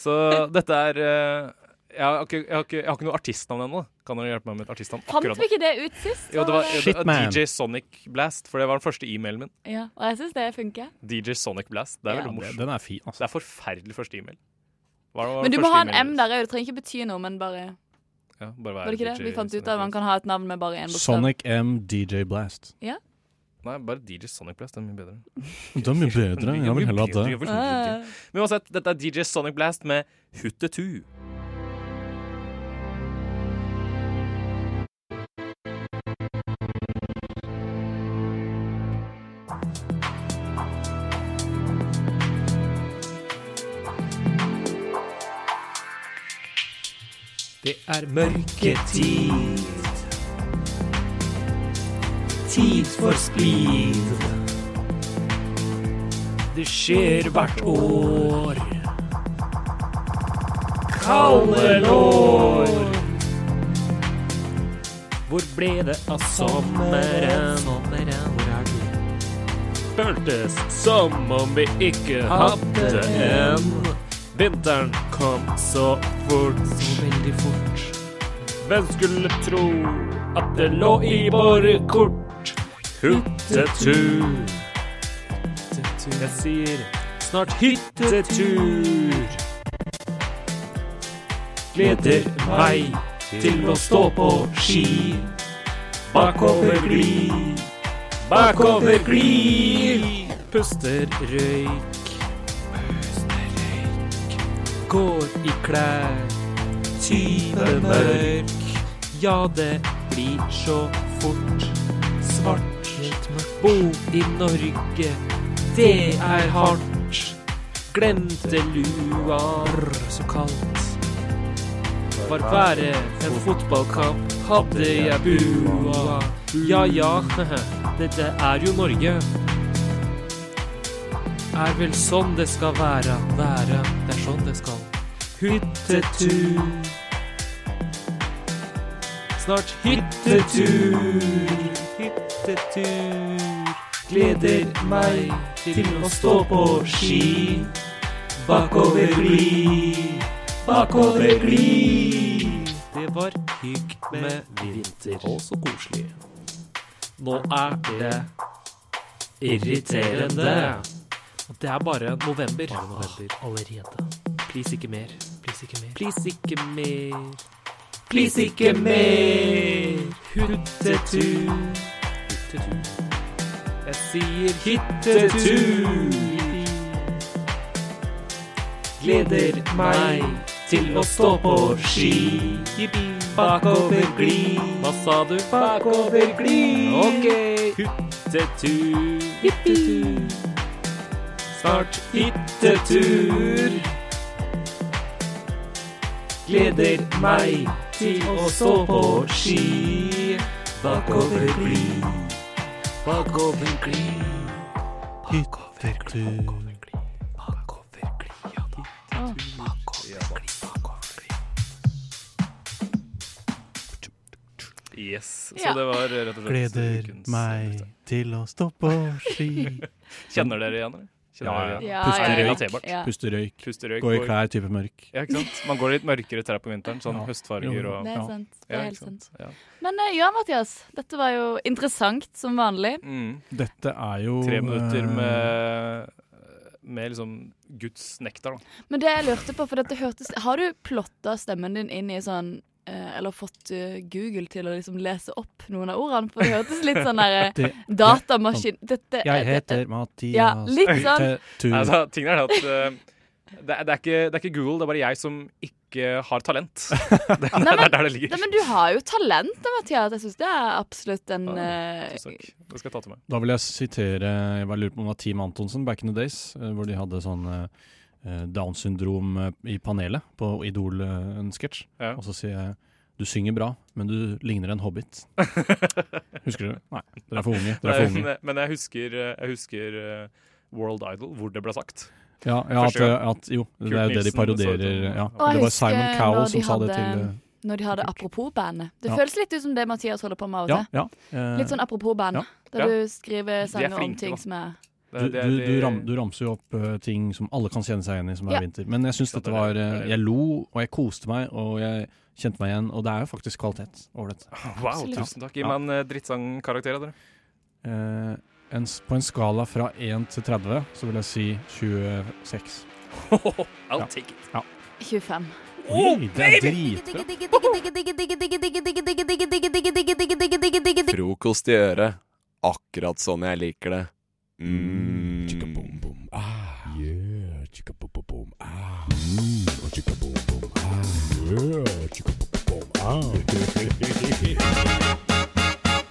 Så dette er eh, jeg, har ikke, jeg, har ikke, jeg har ikke noe artistnavn ennå. Kan dere hjelpe meg med et artistnavn? Fant vi ikke det ut sist? Jo, det var, Så- det var DJ Sonic Blast, for det var den første e-mailen min. Ja, og jeg syns det funker. DJ Sonic Blast. Det er Ja, veldig det- morsomt. den er fin, altså. Det er forferdelig første e-mail. Hva var Men du må første ha en e-mailen M der òg. Det trenger ikke bety noe, men bare deres? Ja, bare Var være det ikke det? DJ Vi fant ut Sonic at man Blast. kan ha et navn med bare én bokstav. Sonic M. DJ Blast. Ja. Nei, bare DJ Sonic Blast. Det er mye bedre. De er bedre. Jeg vil heller ha Jeg vil Ah. det. ha det. sånn Men uansett, dette er DJ Sonic Blast med Huttetu. Det er mørketid. Tid for splid. Det skjer hvert år. Kalde lår. Hvor ble det av sommeren? Hvor er du? Føltes som om vi ikke hadde en. Vinteren kom så fort. Så veldig fort. Hvem skulle tro at det lå i våre kort? Hyttetur. Jeg sier snart hyttetur. Gleder meg til å stå på ski. Bakover gli, bakover gli. Puster røyk. Går i klær. Tyve mørk. Ja, det blir så fort svart. Bo i Norge, det er hardt. Glemte lua, Brr, så kaldt. Var været en fotballkamp, hadde jeg bua. Ja ja, dette er jo Norge. Er vel sånn det skal være, være. Det er sånn det skal. Hyttetur. Snart hyttetur, hyttetur. Gleder meg til å stå på ski. Bakover gli, bakover gli. Det var hygg med vinter. Å, så koselig. Nå er det irriterende. Og det er bare november. Åh, allerede. Please, ikke mer. Please, ikke mer. Please, ikke mer. Please, ikke mer. Hyttetur. Jeg sier hyttetur. Gleder meg til å stå på ski. Bakover gli. Hva sa du? Bakover gli. Ok. Hyttetur. Hyttetur. Snart hyttetur. Gleder meg til å stå på ski. Bakover gli. Bakover gli. Bakover gli. Yes. Så Ja. det var rett og slett Gleder ukens- meg til å stå på ski. Kjenner dere igjen, eller? Kjenner Ja, ja. dere igjen? Ja, Er det ja, ja. relaterbart? Ja. Pusterøyk. Pusterøyk. Gå i klær, type mørk. Ja, ikke sant? Man går i litt mørkere trær på vinteren, sånn høstfarger og Det er sant. Det Ja, er ikke helt sant. Ja. Men eh, ja, Mathias. Dette var jo interessant som vanlig. Mm. Dette er jo Tre minutter eh, med, med liksom Guds nektar, da. Men det jeg lurte på, for dette hørtes Har du plotta stemmen din inn i sånn eh, eller fått eh, Google til å liksom lese opp noen av ordene? For det hørtes litt sånn der eh, Det- sånn. datamaskin dette, eh, Jeg dette- heter Mathias. Ja, litt sånn. Hyttetur. Altså, tingen er at eh, det, er- det, er ikke, det er ikke Google, det er bare jeg som ikke har talent. Det, er- det er der det ligger. Nei, men du har jo talent da, Mathias. Jeg syns det er absolutt en eh, Det skal jeg ta til meg. Da vil jeg sitere Jeg bare lurer på om det var Team Antonsen back in the days, eh, hvor de hadde sånn eh, Down syndrom eh, i panelet på Idol, eh, en sketsj. Og så sier jeg du synger bra, men du ligner en hobbit. Husker dere? Nei, dere er for unge. Dere er for unge. Men, men jeg husker, jeg husker eh, World Idol, hvor det ble sagt. Ja, ja at, eh, Første gang. at, jo, det Kurt er jo det de Nilsen sa parodierer. det. Ja. Og jeg Det var husker Simon Cowell når de som sa det hadde- til eh, Når de hadde apropos-bandet. Det Ja. føles litt ut som det Mathias holder på med av og Ja, til. ja. Eh, Litt sånn apropos-band, ja. der Ja. du skriver De er sanger om flinke, ting da. som er Du, Det er- du, du, det- ram, du ramser jo opp eh, ting som alle kan kjenne seg igjen i, som Ja. er vinter. Men jeg syns dette var eh, Jeg lo, og jeg koste meg, og jeg kjente meg igjen. Og det er jo faktisk kvalitet over dette. Ah, Wow, tusen takk. Gi Ja. meg en eh, drittsangkarakter av dere. Eh, en, s- på en skala fra 1 til 30 så vil jeg si 26. I'll Ja. take it. Ja. 25. Oi, det er dritbra! Frokost i øret. Akkurat sånn jeg liker det. Mm. Mmm, Ah, Ah,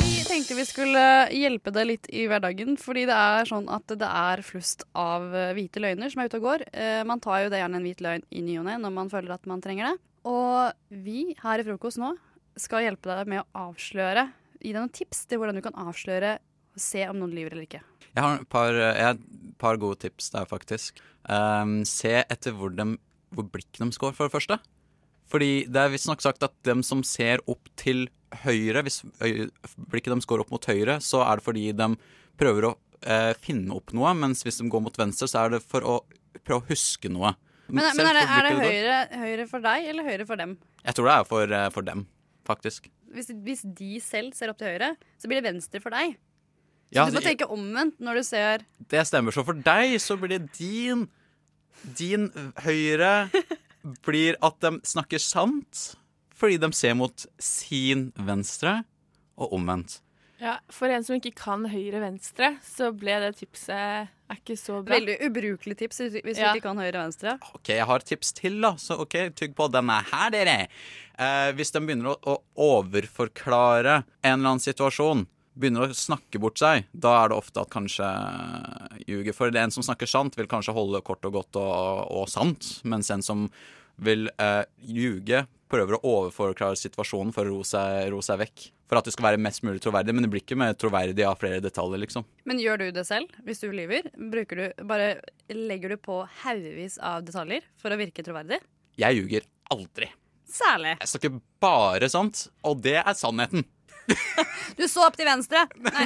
Vi tenkte vi skulle hjelpe deg litt i hverdagen, fordi det er sånn at det er flust av eh, hvite løgner som er ute og går. Eh, Man tar jo det gjerne en hvit løgn i ny og ne når man føler at man trenger det. Og vi her i Frokost nå skal hjelpe deg med å avsløre, gi deg noen tips til hvordan du kan avsløre og se om noen lyver eller ikke. Jeg har et par, jeg har et par gode tips der, faktisk. Ehm, se etter hvor, dem- hvor blikket deres går, for det første. Fordi det er visstnok sagt at dem som ser opp til høyre, hvis øy- blikket deres går opp mot høyre, så er det fordi de prøver å eh, finne opp noe, mens hvis de går mot venstre, så er det for å prøve å huske noe. Men, Se men er det, er hvor det blikket går. høyre, høyre for deg eller høyre for dem? Jeg tror det er for, eh, for dem, faktisk. Hvis, hvis de selv ser opp til høyre, så blir det venstre for deg. Så Ja, du må altså, tenke omvendt når du ser Det stemmer. Så for deg så blir det din Din høyre blir at de snakker sant fordi de ser mot sin venstre, og omvendt. Ja, For en som ikke kan høyre-venstre, så ble det tipset er ikke så bra. Veldig ubrukelig tips hvis hvis Ja. du ikke kan høyre-venstre. OK, jeg har et tips til, da. Så OK, tygg på denne her, dere. Eh, hvis de begynner å, å overforklare en eller annen situasjon, begynner å snakke bort seg, da er det ofte at kanskje eh, ljuger. For en som snakker sant, vil kanskje holde kort og godt og, og sant, mens en som vil eh, ljuge, prøver å overforklare situasjonen for å ro seg, ro seg vekk. For at det skal være mest mulig troverdig, men det blir ikke mer troverdig av flere detaljer, liksom. Men gjør du det selv hvis du lyver? Bruker du, bare legger du på haugevis av detaljer for å virke troverdig? Jeg ljuger aldri. Særlig. Jeg snakker bare sant, og det er sannheten. Du så opp til venstre! Nei.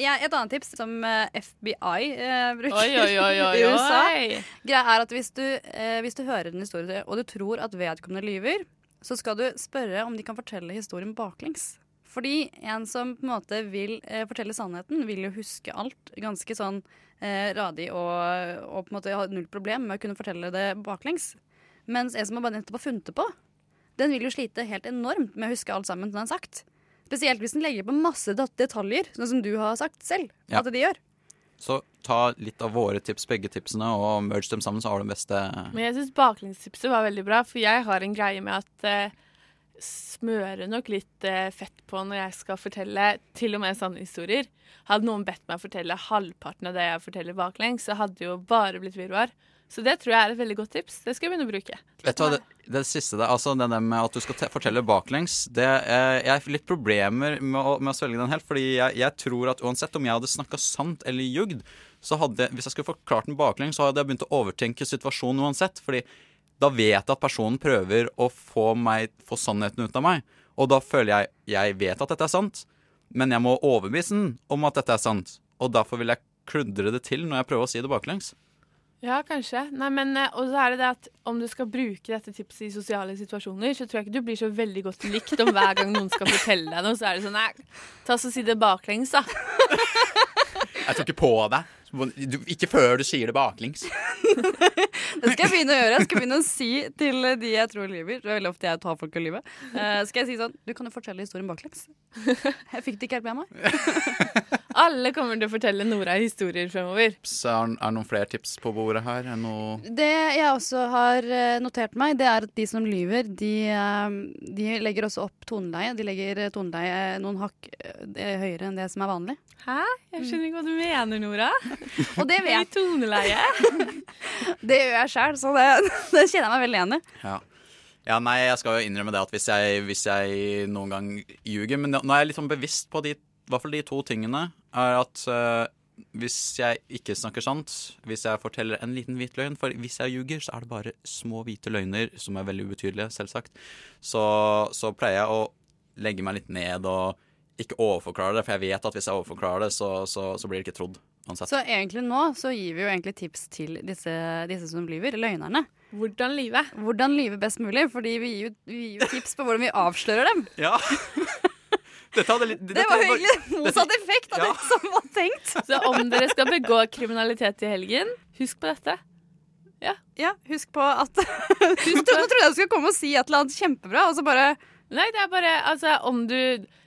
Ja, et annet tips som eh, FBI eh, bruker Oi, oi, oi, oi, i USA, oi. greia er at hvis du, eh, hvis du hører en historie og du tror at vedkommende lyver, så skal du spørre om de kan fortelle historien baklengs. Fordi en som på en måte vil eh, fortelle sannheten, vil jo huske alt ganske sånn eh, radig og, og på en måte ha null problem med å kunne fortelle det baklengs. Mens en som har bare nettopp har funnet det på, den vil jo slite helt enormt med å huske alt sammen den har sagt. Spesielt hvis den legger på masse dat- detaljer, sånn som du har sagt selv. Ja. at de gjør. Så ta litt av våre tips, begge tipsene, og merge dem sammen, så har du den beste Men jeg syns baklengstipset var veldig bra, for jeg har en greie med at eh, smøre nok litt eh, fett på når jeg skal fortelle til og med sanne historier. Hadde noen bedt meg fortelle halvparten av det jeg forteller baklengs, så hadde det jo bare blitt virvar. Så det tror jeg er et veldig godt tips. Det skal jeg begynne å bruke. Vet du hva, det, det siste der, altså det der med at du skal te fortelle baklengs det, eh, Jeg har litt problemer med å, med å svelge den helt, fordi jeg, jeg tror at uansett om jeg hadde snakka sant eller ljugd, så hadde Hvis jeg skulle forklart den baklengs, så hadde jeg begynt å overtenke situasjonen uansett. fordi da vet jeg at personen prøver å få, meg, få sannheten ut av meg. Og da føler jeg jeg vet at dette er sant, men jeg må overbevise den om at dette er sant. Og derfor vil jeg kludre det til når jeg prøver å si det baklengs. Ja, kanskje. Nei, men, eh, og så er det det at om du skal bruke dette tipset i sosiale situasjoner, så tror jeg ikke du blir så veldig godt likt om hver gang noen skal fortelle deg noe, så er det sånn Nei, ta så si det baklengs, da. Jeg tar ikke på deg. Du, ikke før du sier det baklengs. Det skal jeg begynne å gjøre. Jeg skal begynne å si til de jeg tror lyver. Det er veldig ofte jeg tar folk og lyver. Eh, skal jeg si sånn Du kan jo fortelle historien baklengs. Jeg fikk det ikke helt med meg. Alle kommer til å fortelle Nora historier fremover. Så er det noen flere tips på bordet her? Er det noe Det jeg også har eh, notert meg, det er at de som lyver, de, eh, de legger også opp toneleie. De legger eh, toneleie noen hakk eh, høyere enn det som er vanlig. Hæ? Jeg skjønner ikke hva du mener, Nora. Og det vet jeg. toneleie. det gjør jeg sjæl, så det, det kjenner jeg meg veldig igjen i. Ja. ja, nei, jeg skal jo innrømme det at hvis jeg, hvis jeg noen gang ljuger Men nå er jeg litt sånn bevisst på de, i hvert fall de to tingene. Er at eh, hvis jeg ikke snakker sant, hvis jeg forteller en liten hvit løgn For hvis jeg ljuger, så er det bare små hvite løgner som er veldig ubetydelige, selvsagt. Så, så pleier jeg å legge meg litt ned og ikke overforklare det, for jeg vet at hvis jeg overforklarer det, så, så, så blir det ikke trodd. Uansett. Så egentlig nå så gir vi jo egentlig tips til disse, disse som lyver, løgnerne. Hvordan lyve? Hvordan lyve best mulig, fordi vi gir jo vi gir jo tips på hvordan vi avslører dem. Ja. Dette hadde litt Det dette var hadde jo bare- egentlig motsatt effekt av det som var tenkt. Så om dere skal begå kriminalitet i helgen, husk på dette. Ja, husk på at Du trodde, trodde jeg skulle komme og si et eller annet kjempebra, og så bare Nei, det er bare altså, om du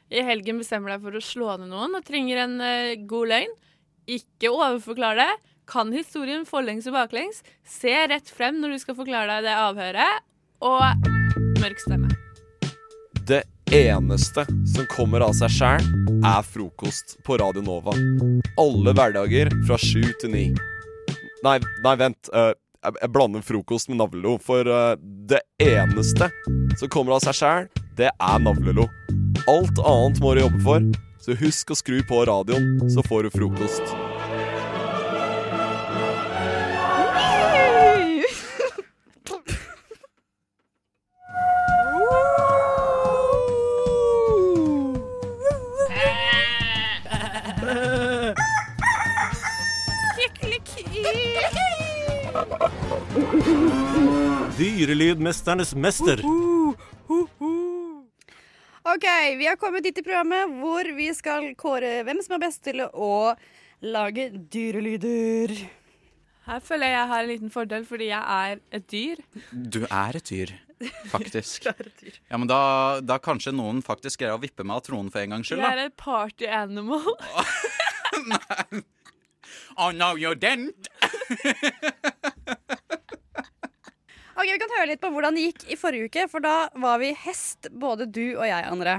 i helgen bestemmer deg for å slå ned noen og trenger en eh, god løgn, ikke overforklar det. Kan historien forlengs og baklengs. Se rett frem når du skal forklare deg det avhøret, og mørk stemme. Det eneste som kommer av seg sjæl, er frokost på Radio Nova. Alle hverdager fra sju til ni. Nei, nei vent. eh, jeg, jeg blander frokost med navlelo, for eh, det eneste som kommer av seg sjæl, det er navlelo. Alt annet må du jobbe for, så husk å skru på radioen, så får du frokost. Dyrelydmesternes mester. OK, vi har kommet dit i programmet hvor vi skal kåre hvem som er best til å lage dyrelyder. Her føler jeg jeg har en liten fordel, fordi jeg er et dyr. Du er et dyr, faktisk. Ja, men da, da kanskje noen faktisk greier å vippe meg av tronen for en gangs skyld, Jeg da. er et party animal. Oh, no, you didn't! Ok, Vi kan høre litt på hvordan det gikk i forrige uke, for da var vi hest, både du og jeg, André.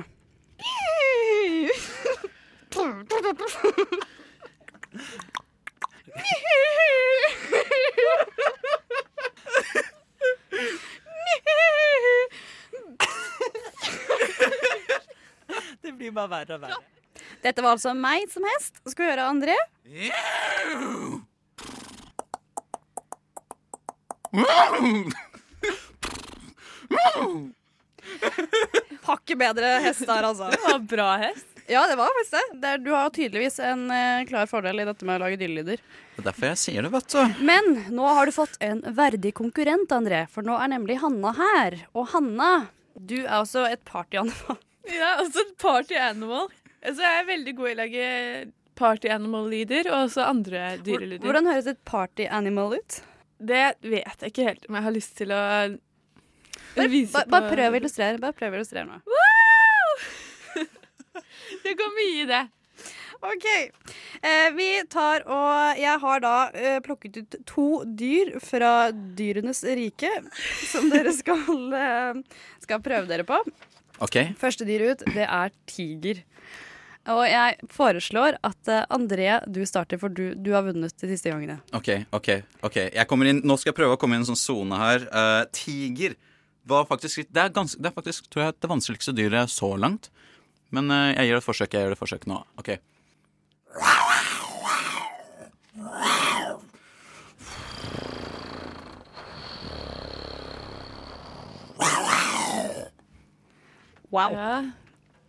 Det blir bare verre og verre. Dette var altså meg som hest. Skal vi høre André? Hakket bedre hest der, altså. altså. Det var bra hest. Ja, det var faktisk det. det er, du har tydeligvis en eh, klar fordel i dette med å lage dyrelyder. Det er derfor jeg sier det, vet du. Men nå har du fått en verdig konkurrent, André, for nå er nemlig Hanna her. Og Hanna, du er også et partyanfall. Ja, også et party animal. Altså, jeg er veldig god i å lage party animal-lyder, og også andre dyrelyder. Hvordan høres et party animal ut? Det vet jeg ikke helt om jeg har lyst til å Bare, vise bare, på bare prøv å illustrere. Bare prøv å illustrere nå. Det går mye i det. OK. Eh, vi tar og Jeg har da eh, plukket ut to dyr fra dyrenes rike som dere skal, eh, skal prøve dere på. OK. Første dyr ut, det er tiger. Og jeg foreslår at eh, André, du starter, for du, du har vunnet de siste gangene. OK, OK. ok jeg kommer inn, Nå skal jeg prøve å komme inn i en sånn sone her. Eh, tiger var faktisk litt- det er, gans, det er faktisk tror jeg, det vanskeligste dyret så langt. Men eh, jeg gir det et forsøk. Jeg gjør det et forsøk nå. OK. Wow.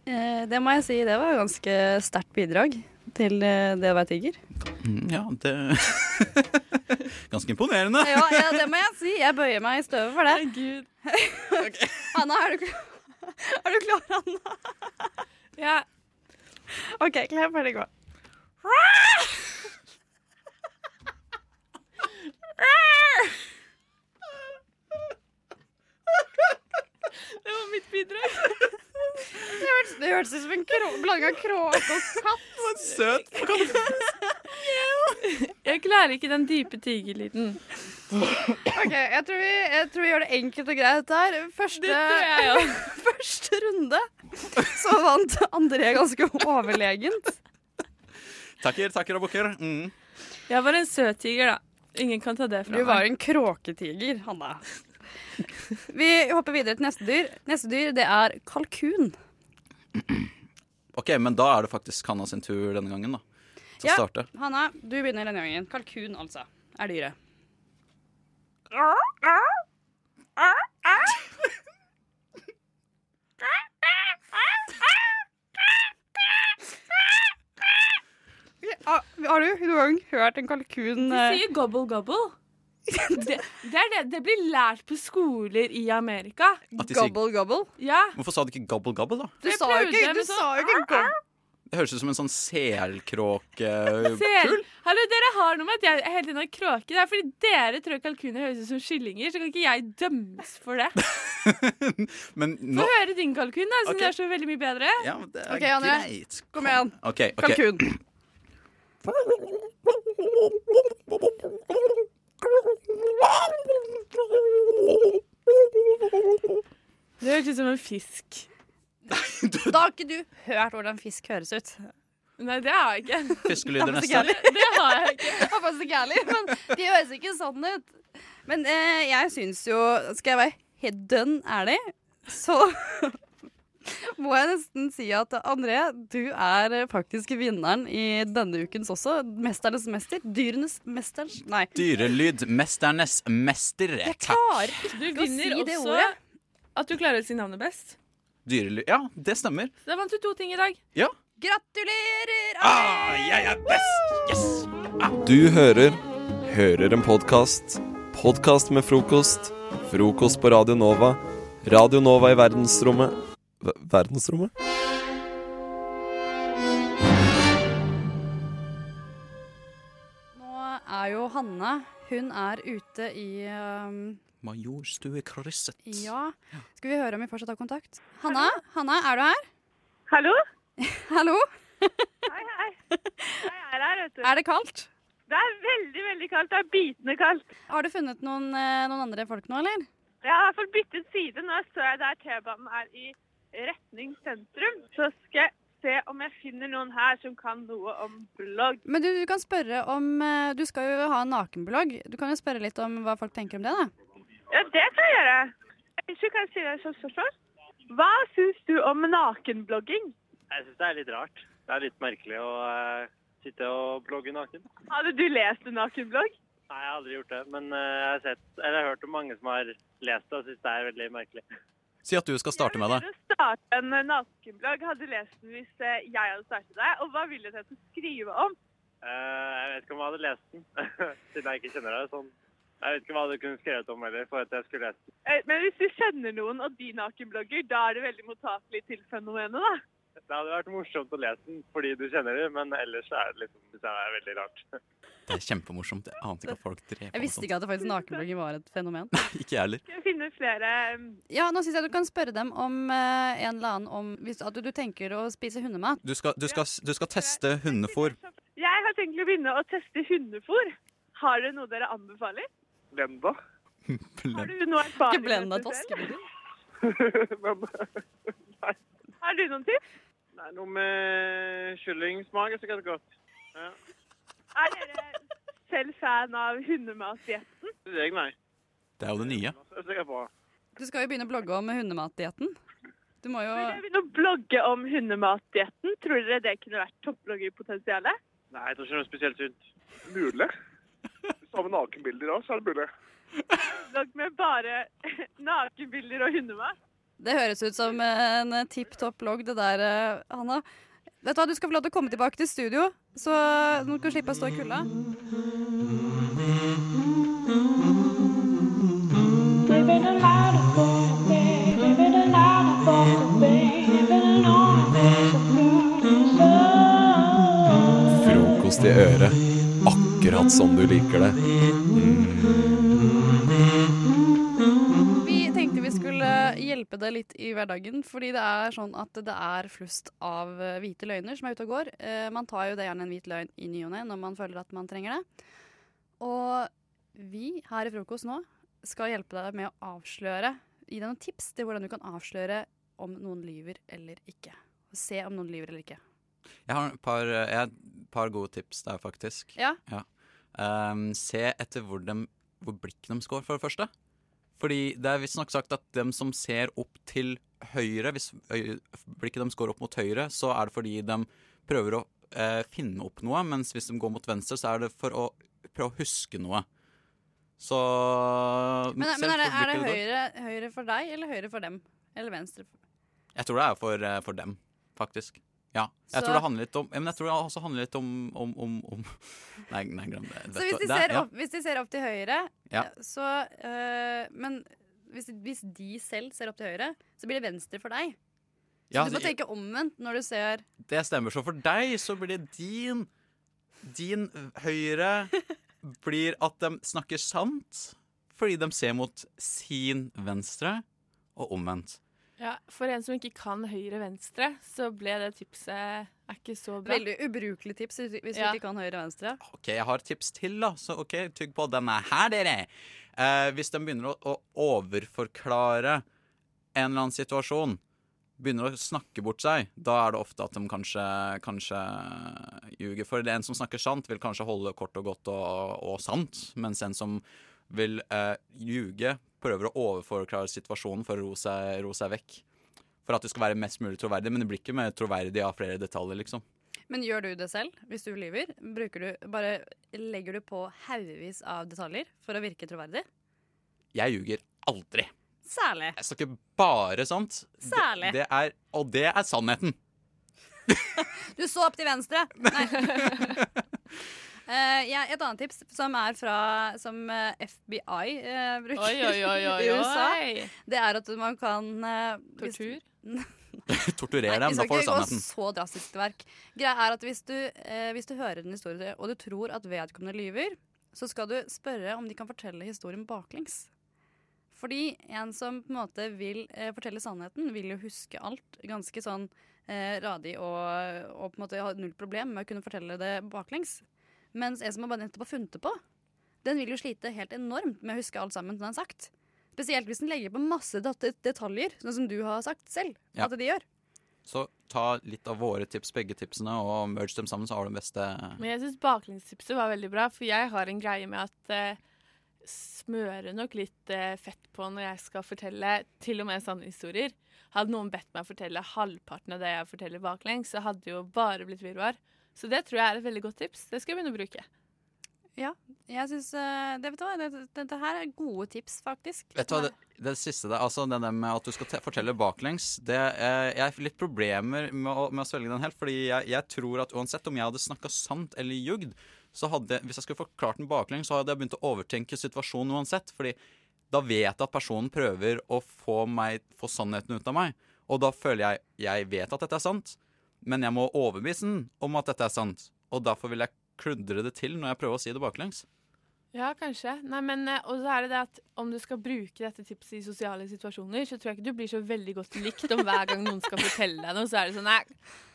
Eh, det må jeg si, det var jo ganske sterkt bidrag til eh, det å være tiger. Mm, ja, det Ganske imponerende. Ja, ja, det må jeg si. Jeg bøyer meg i støvet for det. Hanna, er du klar? Er du klar, Hanna? Ja. OK, klar, ferdig, gå. Det var mitt bidrag. Det hørtes, det hørtes ut som en krå, blanda kråke og katt. søt Jeg klarer ikke den dype tigerlyden. OK, jeg tror, vi, jeg tror vi gjør det enkelt og greit her. Første, jeg første runde så vant André ganske overlegent. Takker, takker og bukker. Mm. Jeg var en søt tiger, da. Ingen kan ta det fra Du var en kråketiger, Hanna. Vi hopper videre til neste dyr. Neste dyr det er kalkun. OK, men da er det faktisk Hanna sin tur denne gangen, da. Til å starte. Hanna, du begynner denne gangen. Kalkun, altså, er dyret. Har har du noen gang hørt en kalkun De eh, sier gobble gobble. Det, det, er det, det blir lært på skoler i Amerika. At de sier- Gobble, gobble? Ja. Hvorfor sa du ikke gabble gabble, da? Du Jeg sa jo prøvde ikke, med du sånn- sa jo ikke gobble. Det høres ut som en sånn selkråke... Sel. Hallo, dere har noe med at jeg hele tiden har kråke. Det er fordi dere tror kalkuner høres ut som kyllinger, så kan ikke jeg dømmes for det. Men Få nå høre din kalkun, da, siden Ok. det er så veldig mye bedre. Ja, men det er Ok, André. greit. Kom igjen. OK. ok. Kalkun. Det høres ut som en fisk. Da har ikke du hørt hvordan fisk høres ut. Nei, det har jeg ikke. Fiskelyder Det neste. er faktisk Det har jeg ikke. Det er faktisk ikke ærlig, men de høres ikke sånn ut. Men eh, jeg syns jo Skal jeg være helt dønn ærlig, så må jeg nesten si at André, du er eh, faktisk vinneren i denne ukens også. Mesternes mester. Dyrenes mesters Nei. Dyrelydmesternes mester. Takk. Du å vinner si det også ordet. at du klarer å si navnet best. Dyrelyd Ja, det stemmer. Så da vant du to ting i dag. Ja. Gratulerer! Ah, jeg er best! Yes! Du hører Hører en podkast. Podkast med frokost. Frokost på Radio Nova. Radio Nova i verdensrommet Ver- Verdensrommet? Nå er jo Hanne Hun er ute i eh, Majorstue krysset. Ja. Skal vi høre om vi fortsatt har kontakt? Hanna, Hanna, er du her? Hallo? Hallo? Jeg er her, vet du. Er det kaldt? Det er veldig, veldig kaldt. Det er bitende kaldt. Har du funnet noen, eh, noen andre folk nå, eller? Jeg har i hvert fall byttet side. Nå står jeg der T-banen er i retning sentrum. Så skal jeg se om jeg finner noen her som kan noe om blogg. Men du, du kan spørre om eh, Du skal jo ha en nakenblogg. Du kan jo spørre litt om hva folk tenker om det, da. Ja, det kan jeg gjøre. Unnskyld, kan jeg si deg et sånt spørsmål? Hva syns du om nakenblogging? Jeg syns det er litt rart. Det er litt merkelig å eh, sitte og blogge naken. Nei, Hadde du lest en nakenblogg? jeg har aldri gjort det, men eh, jeg har sett, eller jeg har hørt om mange som har lest det og syns det er veldig merkelig. Si at du skal starte med det. starte en eh, nakenblogg. Hadde lest den hvis eh, jeg hadde startet det. Og hva ville dere at jeg skulle skrive om? Eh, jeg vet ikke om jeg hadde lest den, siden jeg ikke kjenner deg sånn. Jeg vet ikke hva du kunne skrevet om heller, for at jeg skulle lese den. Eh, Men hvis du kjenner noen og de nakenblogger, da er det veldig mottakelig til fenomenet, da. Det hadde vært morsomt å lese den fordi du kjenner dem, men ellers er det liksom, det er veldig rart. Det er kjempemorsomt. Jeg ante ikke at folk drev Jeg med visste sånt. ikke at det faktisk nakenblogging var et fenomen. Ikke jeg heller. Skal vi finne flere eh, Ja, nå syns jeg du kan spørre dem om eh, en eller annen om hvis, at du, du tenker å spise hundemat. Du skal, du skal, du skal teste hundefôr. Jeg har tenkt å begynne å teste hundefôr. Har dere noe dere anbefaler? Blenda? Har du noe erfaring Blenda med dette selv? Har du noen tips? Det er noe med kyllingsmak er sikkert godt. Ja. Er dere selv fan av hundematdietten? Jeg, nei. Det er jo det nye. Det er sikkert bra. Du skal jo begynne å blogge om hundematdietten. Du må jo Jeg begynner å blogge om hundematdietten. Tror dere det kunne vært topploggerpotensialet? Nei, jeg tror ikke det er noe spesielt sunt. Mulig. Hvis du har med nakenbilder av, så er det mulig. Blogg med bare nakenbilder og hundemat. Det høres ut som en tipp topp blogg, det der, eh, Hanna. Vet du hva, du skal få lov til å komme tilbake til studio, så nå kan du slippe å stå i kulda. Ah, Living a lot of for me, living a lot of for me, living on the blue Frokost i øret, akkurat som du liker det. Mm. Vi tenkte vi skulle hjelpe deg litt i hverdagen, fordi det er sånn at det er flust av eh, hvite løgner som er ute og går. Eh, Man tar jo det gjerne en hvit løgn i ny og ne når man føler at man trenger det. Og vi her i Frokost nå skal hjelpe deg med å avsløre, gi deg noen tips til hvordan du kan avsløre om noen lyver eller ikke. Og se om noen lyver eller ikke. Jeg har et par, eh, jeg har et par gode tips der, faktisk. Ja. Ehm, se etter hvor, dem- hvor blikket de skår, for det første. Fordi det er visstnok sagt at dem som ser opp til høyre, hvis øy- blikket de skår opp mot høyre, så er det fordi de prøver å eh, finne opp noe, mens hvis de går mot venstre, så er det for å prøve å huske noe. Så Men, se men er det, hvor er det blikket går. høyre, høyre for deg, eller høyre for dem? Eller venstre? for- Jeg tror det er for, eh, for dem, faktisk. Ja. Jeg Så- tror det handler litt om ja, Men jeg tror det også handler litt om, om, om, om. Nei, nei, glem det. Så hvis de, Det er- ser ja. opp, hvis de ser opp til høyre, eh, Ja. så øh, Men hvis, hvis de selv ser opp til høyre, så blir det venstre for deg. Så Ja, du må det- tenke omvendt når du ser Det stemmer. Så for deg så blir det din Din høyre blir at de snakker sant fordi de ser mot sin venstre, og omvendt. Ja, For en som ikke kan høyre-venstre, så ble det tipset er ikke så bra. Veldig ubrukelig tips hvis du Ja. ikke kan høyre-venstre. OK, jeg har et tips til, da. Så OK, tygg på denne her, dere. Eh, hvis de begynner å, å overforklare en eller annen situasjon, begynner å snakke bort seg, da er det ofte at de kanskje, kanskje ljuger. For en som snakker sant, vil kanskje holde kort og godt og, og sant, mens en som vil eh, ljuge, prøver å overforklare situasjonen for å ro seg, ro seg vekk. For at du skal være mest mulig troverdig, men det blir ikke mer troverdig av flere detaljer, liksom. Men gjør du det selv hvis du lyver? Bruker du, bare legger du på haugevis av detaljer for å virke troverdig? Jeg ljuger aldri. Særlig. Jeg snakker bare sant. Det- Særlig. Det er, og det er sannheten. Du så opp til venstre! Nei. Eh, ja, et annet tips som er fra som eh, FBI eh, bruker Oi, oi, oi, oi, i USA, oi. det er at man kan eh, Tortur? Torturer dem, da får du Vi skal sannheten. ikke gå så drastisk til verk. Greia er at hvis du, eh, hvis du hører en historie, og du tror at vedkommende lyver, så skal du spørre om de kan fortelle historien baklengs. Fordi en som på en måte vil eh, fortelle sannheten, vil jo huske alt ganske sånn eh, radig og, og på en måte ha null problem med å kunne fortelle det baklengs. Mens en som har bare nettopp har funnet det på, den vil jo slite helt enormt med å huske alt sammen som den har sagt. Spesielt hvis den legger på masse det- detaljer, sånn som du har sagt selv. Ja. at de gjør. Så ta litt av våre tips, begge tipsene, og merge dem sammen, så har du den beste Men jeg syns baklengstipset var veldig bra, for jeg har en greie med at eh, smøre nok litt eh, fett på når jeg skal fortelle til og med sanne historier. Hadde noen bedt meg fortelle halvparten av det jeg forteller baklengs, så hadde det jo bare blitt virvar. Så det tror jeg er et veldig godt tips. Det skal jeg begynne å bruke. Ja, jeg syns det, vet du hva, det, Dette her er gode tips, faktisk. Vet du hva, det, det siste der, altså det der med at du skal te fortelle baklengs det, eh, Jeg har litt problemer med å, med å svelge den helt, fordi jeg, jeg tror at uansett om jeg hadde snakka sant eller ljugd, så hadde Hvis jeg skulle forklart den baklengs, så hadde jeg begynt å overtenke situasjonen uansett. fordi da vet jeg at personen prøver å få, meg, få sannheten ut av meg. Og da føler jeg jeg vet at dette er sant, men jeg må overbevise den om at dette er sant. Og derfor vil jeg kludre det til når jeg prøver å si det baklengs. Ja, kanskje. Nei, men, eh, og så er det det at om du skal bruke dette tipset i sosiale situasjoner, så tror jeg ikke du blir så veldig godt likt om hver gang noen skal fortelle deg noe, så er det sånn Nei,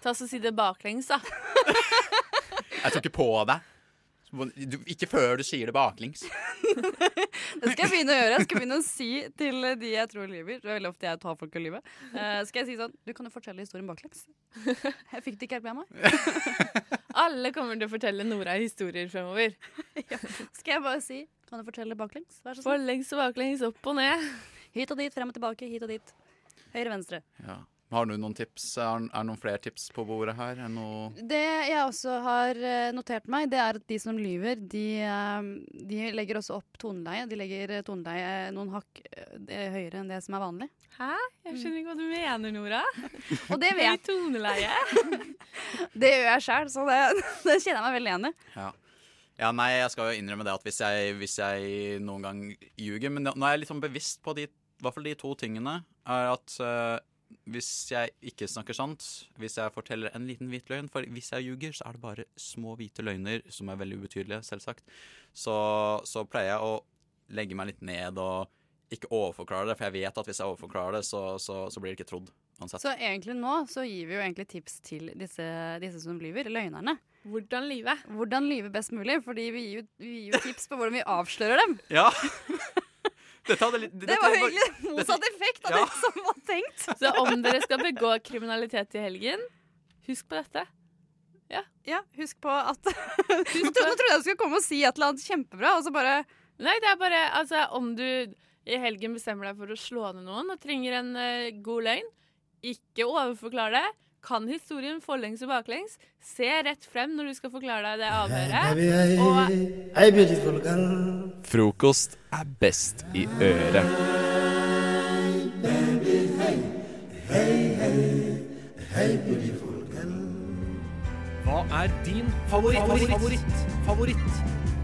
ta så si det baklengs, da. Jeg tror ikke på deg. Så må- Du, ikke før du sier det baklengs. Det skal jeg begynne å gjøre. Jeg skal begynne å si til de jeg tror lyver. Det er veldig ofte jeg tar folk og lyver. Eh, skal jeg si sånn Du kan jo fortelle historien baklengs. Jeg fikk det ikke helt med meg. Alle kommer til å fortelle Nora historier fremover. Skal jeg bare si Kan du fortelle baklengs? Vær så snill. Forlengs og baklengs, opp og ned. Hit og dit, frem og tilbake, hit og dit. Høyre, venstre. Ja. Har du noen tips? Er er det noen flere tips på bordet her? Er det noe Det jeg også har eh, notert meg, det er at de som lyver, de, eh, de legger også opp toneleie. De legger eh, toneleie noen hakk eh, høyere enn det som er vanlig. Hæ? Jeg skjønner ikke hva du mener, Nora. Og det vet Høy toneleie. Det gjør jeg sjæl, så det, det kjenner jeg meg veldig igjen i. Ja. ja, nei, jeg skal jo innrømme det at hvis jeg, hvis jeg noen gang ljuger Men nå er jeg litt sånn bevisst på de, i hvert fall de to tingene. Er at eh, hvis jeg ikke snakker sant, hvis jeg forteller en liten hvit løgn For hvis jeg ljuger, så er det bare små hvite løgner som er veldig ubetydelige, selvsagt. Så, så pleier jeg å legge meg litt ned og ikke overforklare det, for jeg vet at hvis jeg overforklarer det, så, så, så blir det ikke trodd. Uansett. Så egentlig nå så gir vi jo egentlig tips til disse, disse som lyver, løgnerne. Hvordan lyve? Hvordan lyve best mulig, fordi vi gir, jo, vi gir jo tips på hvordan vi avslører dem. Ja. Dette hadde litt Det dette var var- jo egentlig motsatt effekt av Ja. det som var tenkt. Så om dere skal begå kriminalitet i helgen, husk på dette. Ja. husk på at Nå trodde nå trodde jeg du skulle komme og si et eller annet kjempebra, og så bare Nei, det er bare altså, om du i helgen bestemmer deg for å slå ned noen og trenger en eh, god løgn, ikke overforklar det. Kan historien forlengs og baklengs. Se rett frem når du skal forklare deg det avhøret. Og I beautiful girl. Frokost er best i øret. Hva er din favoritt? Favoritt. favoritt?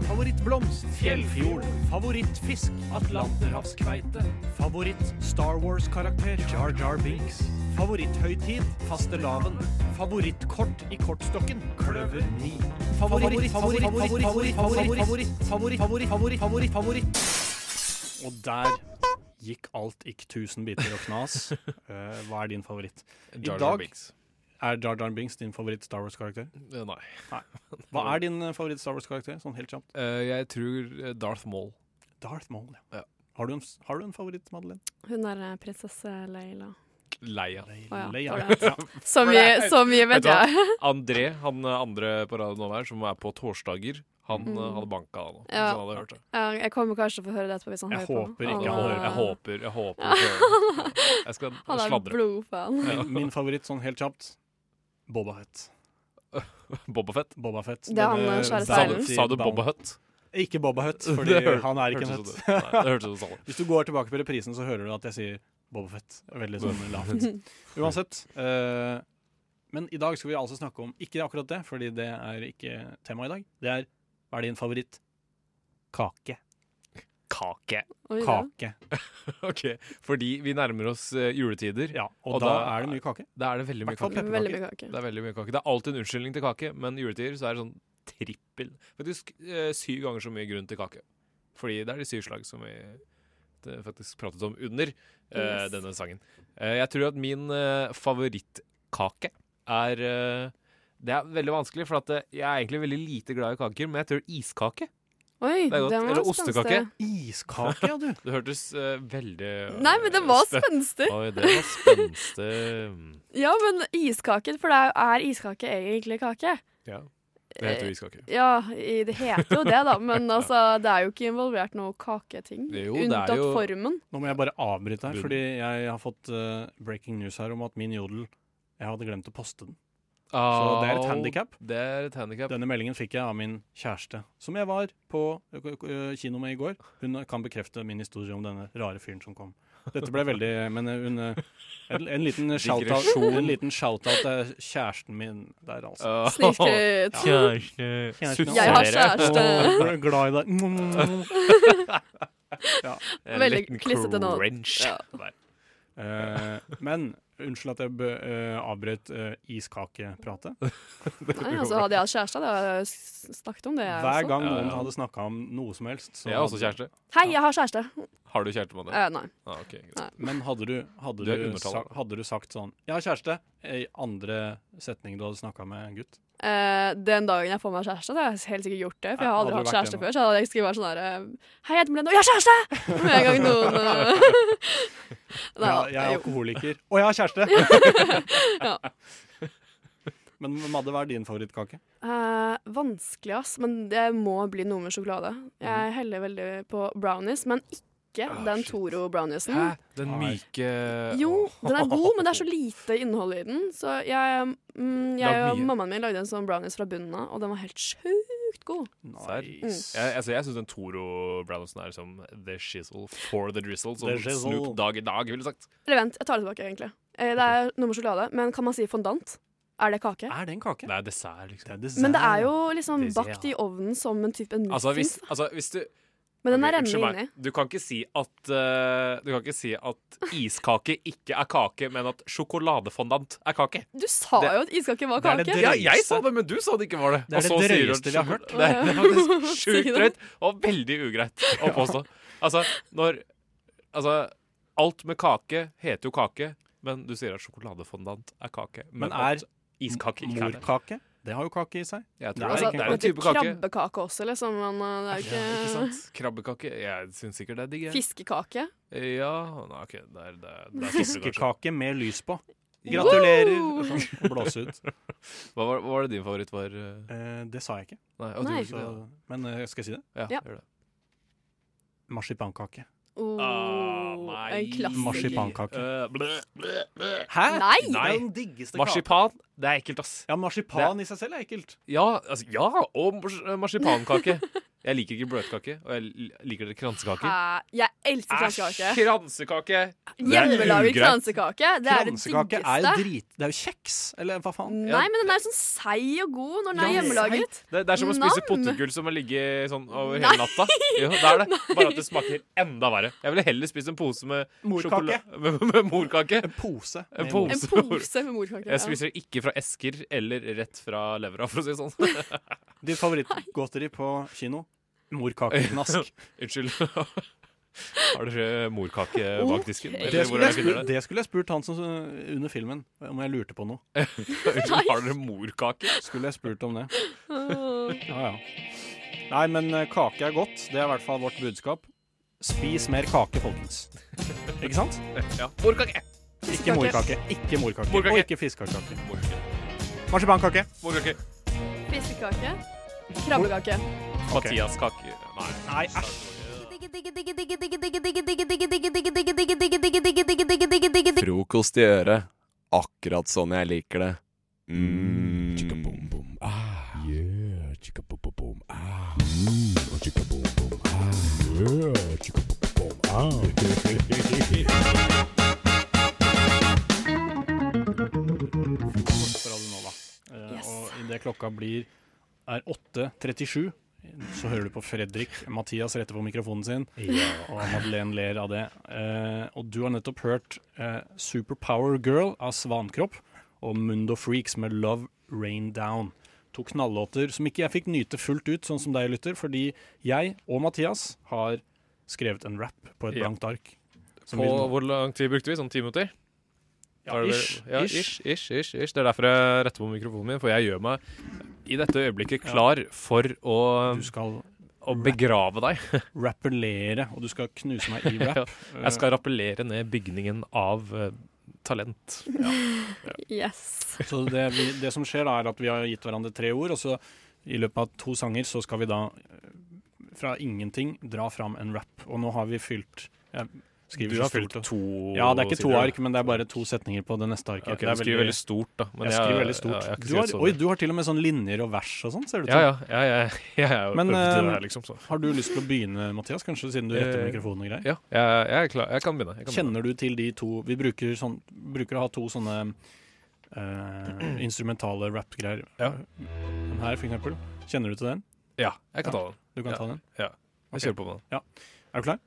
Favorittblomst? Fjellfjord. Favorittfisk? Atlanterhavskveite. Favoritt Star Wars-karakter? Jar Jar Binks. Favoritthøytid? Fastelavn. Favorittkort i kortstokken? Kløver 9. Favoritt, favoritt, favoritt, favoritt, favoritt, favoritt, favoritt, favoritt, favoritt, favoritt, favoritt. Og der gikk alt i tusen biter og knas. Eh, hva er din favoritt? I Jar Jar dag- Binks. Er Jar Jar Binks din favoritt Star Wars-karakter? Eh, nei. Hva er din eh, favoritt Star Wars-karakter, sånn helt kjapt? Eh, jeg tror eh, Darth Maul. Darth Maul, ja. Har, du en, s- har du en favoritt, Madeleine? Hun er eh, prinsesse Leila. Leia. ja, Leia. var det. Så mye- så mye vet du hva? jeg. André, han eh, andre på radioen over her, som er på torsdager, han Mm. eh, hadde banka han. hvis Ja. han hadde hørt det. Ja, jeg kommer kanskje til å få høre det etterpå hvis han Jeg hører håper på. ikke han hører- jeg håper- jeg håper Ja. ikke han hører. sånn- Jeg skal Han er sladre. blodfan. Min, min favoritt sånn helt kjapt Boba Fett. Boba Fett? Boba Fett. Det er han, eh, Denne svære Bounty steinen. Sa du Boba Hutt? Ikke Boba Hutt, Det fordi hør- han er ikke en Hutt. hørtes ut som det. Nei, det hørtes ut som det. Hvis du går tilbake på reprisen, så hører du at jeg sier Boba Fett. Veldig sånn lavt. Uansett. eh, men i dag skal vi altså snakke om ikke akkurat det, fordi det er ikke tema i dag. Det er hva er din favoritt? Kake. Kake. Oi, ja. Kake. ok, fordi vi nærmer oss eh, juletider. og da er det mye kake. Da er det veldig mye Hvertfall kake. pepperkaker. Veldig mye kake. Det er veldig mye kake. Det er alltid en unnskyldning til kake, men i juletider så er det sånn trippel. Faktisk eh, syv ganger så mye grunn til kake. Fordi det er de syv slag som vi det faktisk pratet om under eh, Yes. denne sangen. Eh, jeg tror at min eh, favorittkake er eh, Det er veldig vanskelig, for at, eh, jeg er egentlig veldig lite glad i kaker, men jeg tror iskake. Oi, det er godt. den var Eller ostekake. spenstig. Iskake, ja, du. det hørtes eh, veldig Nei, men den var spen- spenstig. Oi, det var spenstig. Ja, men iskake, for det er- er iskake egentlig kake? Ja. Det Eh, heter jo iskake. Ja, i- det heter jo det, da, men altså, det er jo ikke involvert noe kaketing. Unntatt formen. Nå må jeg bare avbryte her, fordi jeg har fått eh, breaking news her om at min jodel Jeg hadde glemt å poste den. Så det er Au. et handikap. handicap. Denne meldingen fikk jeg av min kjæreste, som jeg var på ø, ø, kino med i går. Hun kan bekrefte min historie om denne rare fyren som kom. Dette ble veldig Men eh, hun ø, En, en liten shout-out Digresjon. En liten shout-out til kjæresten min der, altså. Åh. Snikskryt. Kjæreste. Sutter Jeg har dere. kjæreste. Åh, jeg er glad i deg. Ja. En Veldig liten klissete nå. cringe. Ja. Der. Eh, men unnskyld at jeg bø- eh, avbrøt eh, iskakepratet. Nei, altså, hadde jeg hatt kjæreste, hadde jeg s- snakket om det. jeg Hver også. gang noen Ja, ja. hadde snakka om noe som helst så Jeg har også kjæreste. Hei, jeg har kjæreste. Har du kjæreste med det? Eh, nei. Ah, ok, greit. Men hadde du, hadde, Du er du, undertallet. sa- hadde du sagt sånn 'Jeg har kjæreste' i andre setning du hadde snakka med en gutt? Eh, den dagen jeg får meg kjæreste, hadde jeg helt sikkert gjort det. For jeg har Hadde aldri du hatt vært kjæreste hjemme? før. Så hadde jeg sikkert vært sånn her eh, Hei, jeg heter Melene, og jeg har kjæreste! Med en gang noen eh, Nei, ja, da, jeg er jo. alkoholiker. Og jeg har kjæreste! Ja. Men Madde, hva er din favorittkake? Eh, vanskelig, ass. Men det må bli noe med sjokolade. Mm. Jeg heller veldig på brownies, men ikke Ah, den Toro-browniesen. Hæ? Den myke Eh, Jo, den er god, men det er så lite innhold i den. Så jeg, mm, jeg Lag og mye. mammaen min lagde en sånn brownies fra bunnen av, og den var helt sjukt god. Serr? Jeg, altså, jeg syns den Toro-brownsen er som the shizzle for the drizzle, som The shizzle. Snoop Dogg i dag ville sagt. Eller vent, jeg tar det tilbake, egentlig. Eh, Det er noe med sjokolade, men kan man si fondant? Er det kake? Er det en kake? Det er dessert, liksom. Men det er jo liksom Dessert. bakt i ovnen som en type en muffins. Altså, hvis, altså, hvis du men den er Ok, unnskyld rennende meg. inni. Du kan ikke si at eh, Du kan ikke si at iskake ikke er kake, men at sjokoladefondant er kake. Du sa Det- jo at iskake var det er kake. det Ja, jeg sa det, men du sa det ikke var det. Det er Og det så sier du drøyeste at vi har sjoko- hørt. Det er det er faktisk Si det. sjukt drøyt og veldig ugreit å påstå. Altså, når Altså, alt med kake heter jo kake, men du sier at sjokoladefondant er kake. Men er at iskake ikke er det? Morkake? Det har jo kake i seg. Jeg Det tror er Altså, ikke det. en Det er en kake. type kake. Krabbekake også, liksom. Men eh, det er jo ikke, Ja, ikke sant? Krabbekake? Jeg syns sikkert det er digg. jeg. Fiskekake. Ja Nei, OK. Det er, det er, det er Fiskekake med lys på. Ja. Gratulerer! Woo! Sånn, Blås ut. Hva var, hva var det din favoritt var? eh? Eh, det sa jeg ikke. Nei, og du Nei. gjorde ikke det, Så, men eh, skal jeg si det? Ja, Ja. gjør det. Marsipankake. Oh, en klassiker. Marsipankake. Eh, blø, blø, blø. Hæ? Nei! Det er jo den diggeste Marsipan, det er ekkelt, ass. Ja, marsipan i seg selv er ekkelt. Ja, altså, ja og mars- eh, marsipankake. Jeg liker ikke bløtkake, og jeg li- liker dere kransekaker. Hæ? Jeg elsker Æsj, kransekake. kransekake! Hjemmelaget kransekake. Det er det Kransekake diggeste. er jo drit... Det er jo kjeks, eller hva faen? Nei, men den er sånn seig og god når den er Ja, hjemmelaget. Det, det er som å spise Nam! potetgull som har ligget sånn over Nei! hele natta. Jo, det er det. Bare at det smaker enda verre. Jeg ville heller spist en pose med Morkake. sjokola- Med, med morkake. En pose. En med pose, En pose med morkake, ja. Jeg spiser ikke fra esker eller rett fra levra, for å si det sånn. Ditt favorittgodteri på kino? Morkakeknask. Unnskyld. Har dere morkake Eh, bak disken? Eller Det hvor skulle, jeg er det finner spurt, det? det skulle jeg spurt han som, under filmen, om jeg lurte på noe. Unnskyld, har dere morkake? Skulle jeg spurt om det. Åh. Ja, ja. Nei, men eh, kake er godt. Det er i hvert fall vårt budskap. Spis mer kake, folkens. Ikke sant? Ja. Morkake! Ikke morkake. Ikke morkake. Morkake. Og ikke fiskekake. Marsipankake. Morkake. Fiskekake. Krabbekake. Mathias kake. Nei. Nei, æsj. Frokost i øret. Akkurat sånn jeg liker det. Mm. Ah, Ah. for Adrenova. Eh, Og idet klokka blir er 8.37, så hører du på Fredrik Mathias rette på mikrofonen sin, og Madeleine ler av det. Eh, og du har nettopp hørt eh, Superpower Girl av Svankropp og Mundo Freaks med Love Rain Down. To knallåter som ikke jeg fikk nyte fullt ut, sånn som deg lytter, fordi jeg og Mathias har skrevet en rap på et Ja. blankt ark. Som På vi nå- hvor lang tid brukte vi? Sånn ti minutter? Ja, Var det- ish, ja, ish. ish, ish, ish, ish. Det er derfor jeg retter på mikrofonen min, for jeg gjør meg i dette øyeblikket klar for å Du skal å begrave deg. Rappellere, og du skal knuse meg i rap. Ja, jeg skal rappellere ned bygningen av eh, talent. Yes. Så det, vi, det som skjer da, er at vi har gitt hverandre tre ord, og så i løpet av to sanger så skal vi da eh, fra ingenting dra fram en rap. Og nå har vi fylt eh, Skriver Du så har fylt stort. to Ja, det er ikke to sider, da. ark, men det er bare to setninger på det neste arket. Ok, det er du skriver veldig stort, da, men jeg, jeg- skriver veldig ja, stort. jeg har ikke du, har, skrevet oi, så mye. du har til og med sånn linjer og vers og sånn, ser det ut Ja, som. ja, ja, ja, jeg er jo men øvd i det eh, her, liksom, så. har du lyst til å begynne, Mathias? Kanskje siden du retter Eh, mikrofonen og greier? Ja, jeg, jeg, er klar. jeg kan begynne. Jeg kan Kjenner du til de to Vi bruker, sånn, bruker å ha to sånne eh, instrumentale rap-greier. Den her, for eksempel. Kjenner du til den? Ja, jeg kan ta den. Du kan Ja, ta den? ja. Ok. Jeg kjører på med den. Ja. Er du klar?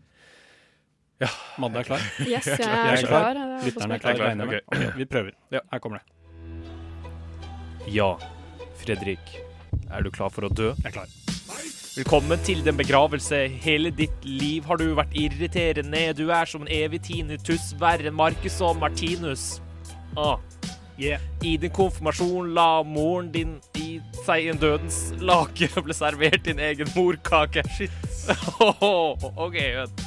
Ja. Madde er klar? Yes, jeg er klar. Jeg er på Lytterne spørsmål. er klar, Jeg er klar, regner jeg med. Ok, ok. Vi prøver. Her kommer det. Ja, Fredrik. Er du klar for å dø? Jeg er klar. Velkommen til din begravelse. Hele ditt liv har du vært irriterende. Du er som en evig tinnitus, verre enn Marcus og Martinus. Ah. I din konfirmasjon la moren din i seg en dødens lake. Ble servert din egen morkake. Shit. OK, vent.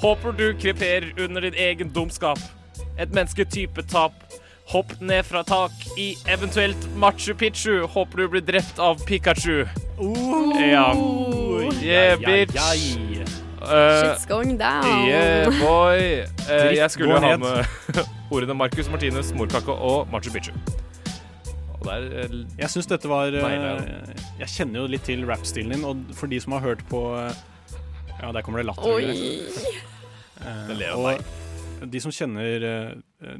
Håper du kreperer under din egen dumskap. Et mennesketypetap. Hopp ned fra tak i eventuelt Machu Picchu. Håper du blir drept av Pikachu. Ja. Yeah, Ai, ai, bitch. ai. Eh, Shit's going down. Yeah, boy. Eh, Dritt jeg skulle går ha ned. med ordene Marcus Martinus, morkake og Machu Picchu. Og der eh, Jeg syns dette var eh, Nei, Jeg kjenner jo litt til rap-stilen din, og for de som har hørt på eh, Ja, der kommer det latter. Oi. Eh, Det ler av meg. og de som kjenner eh,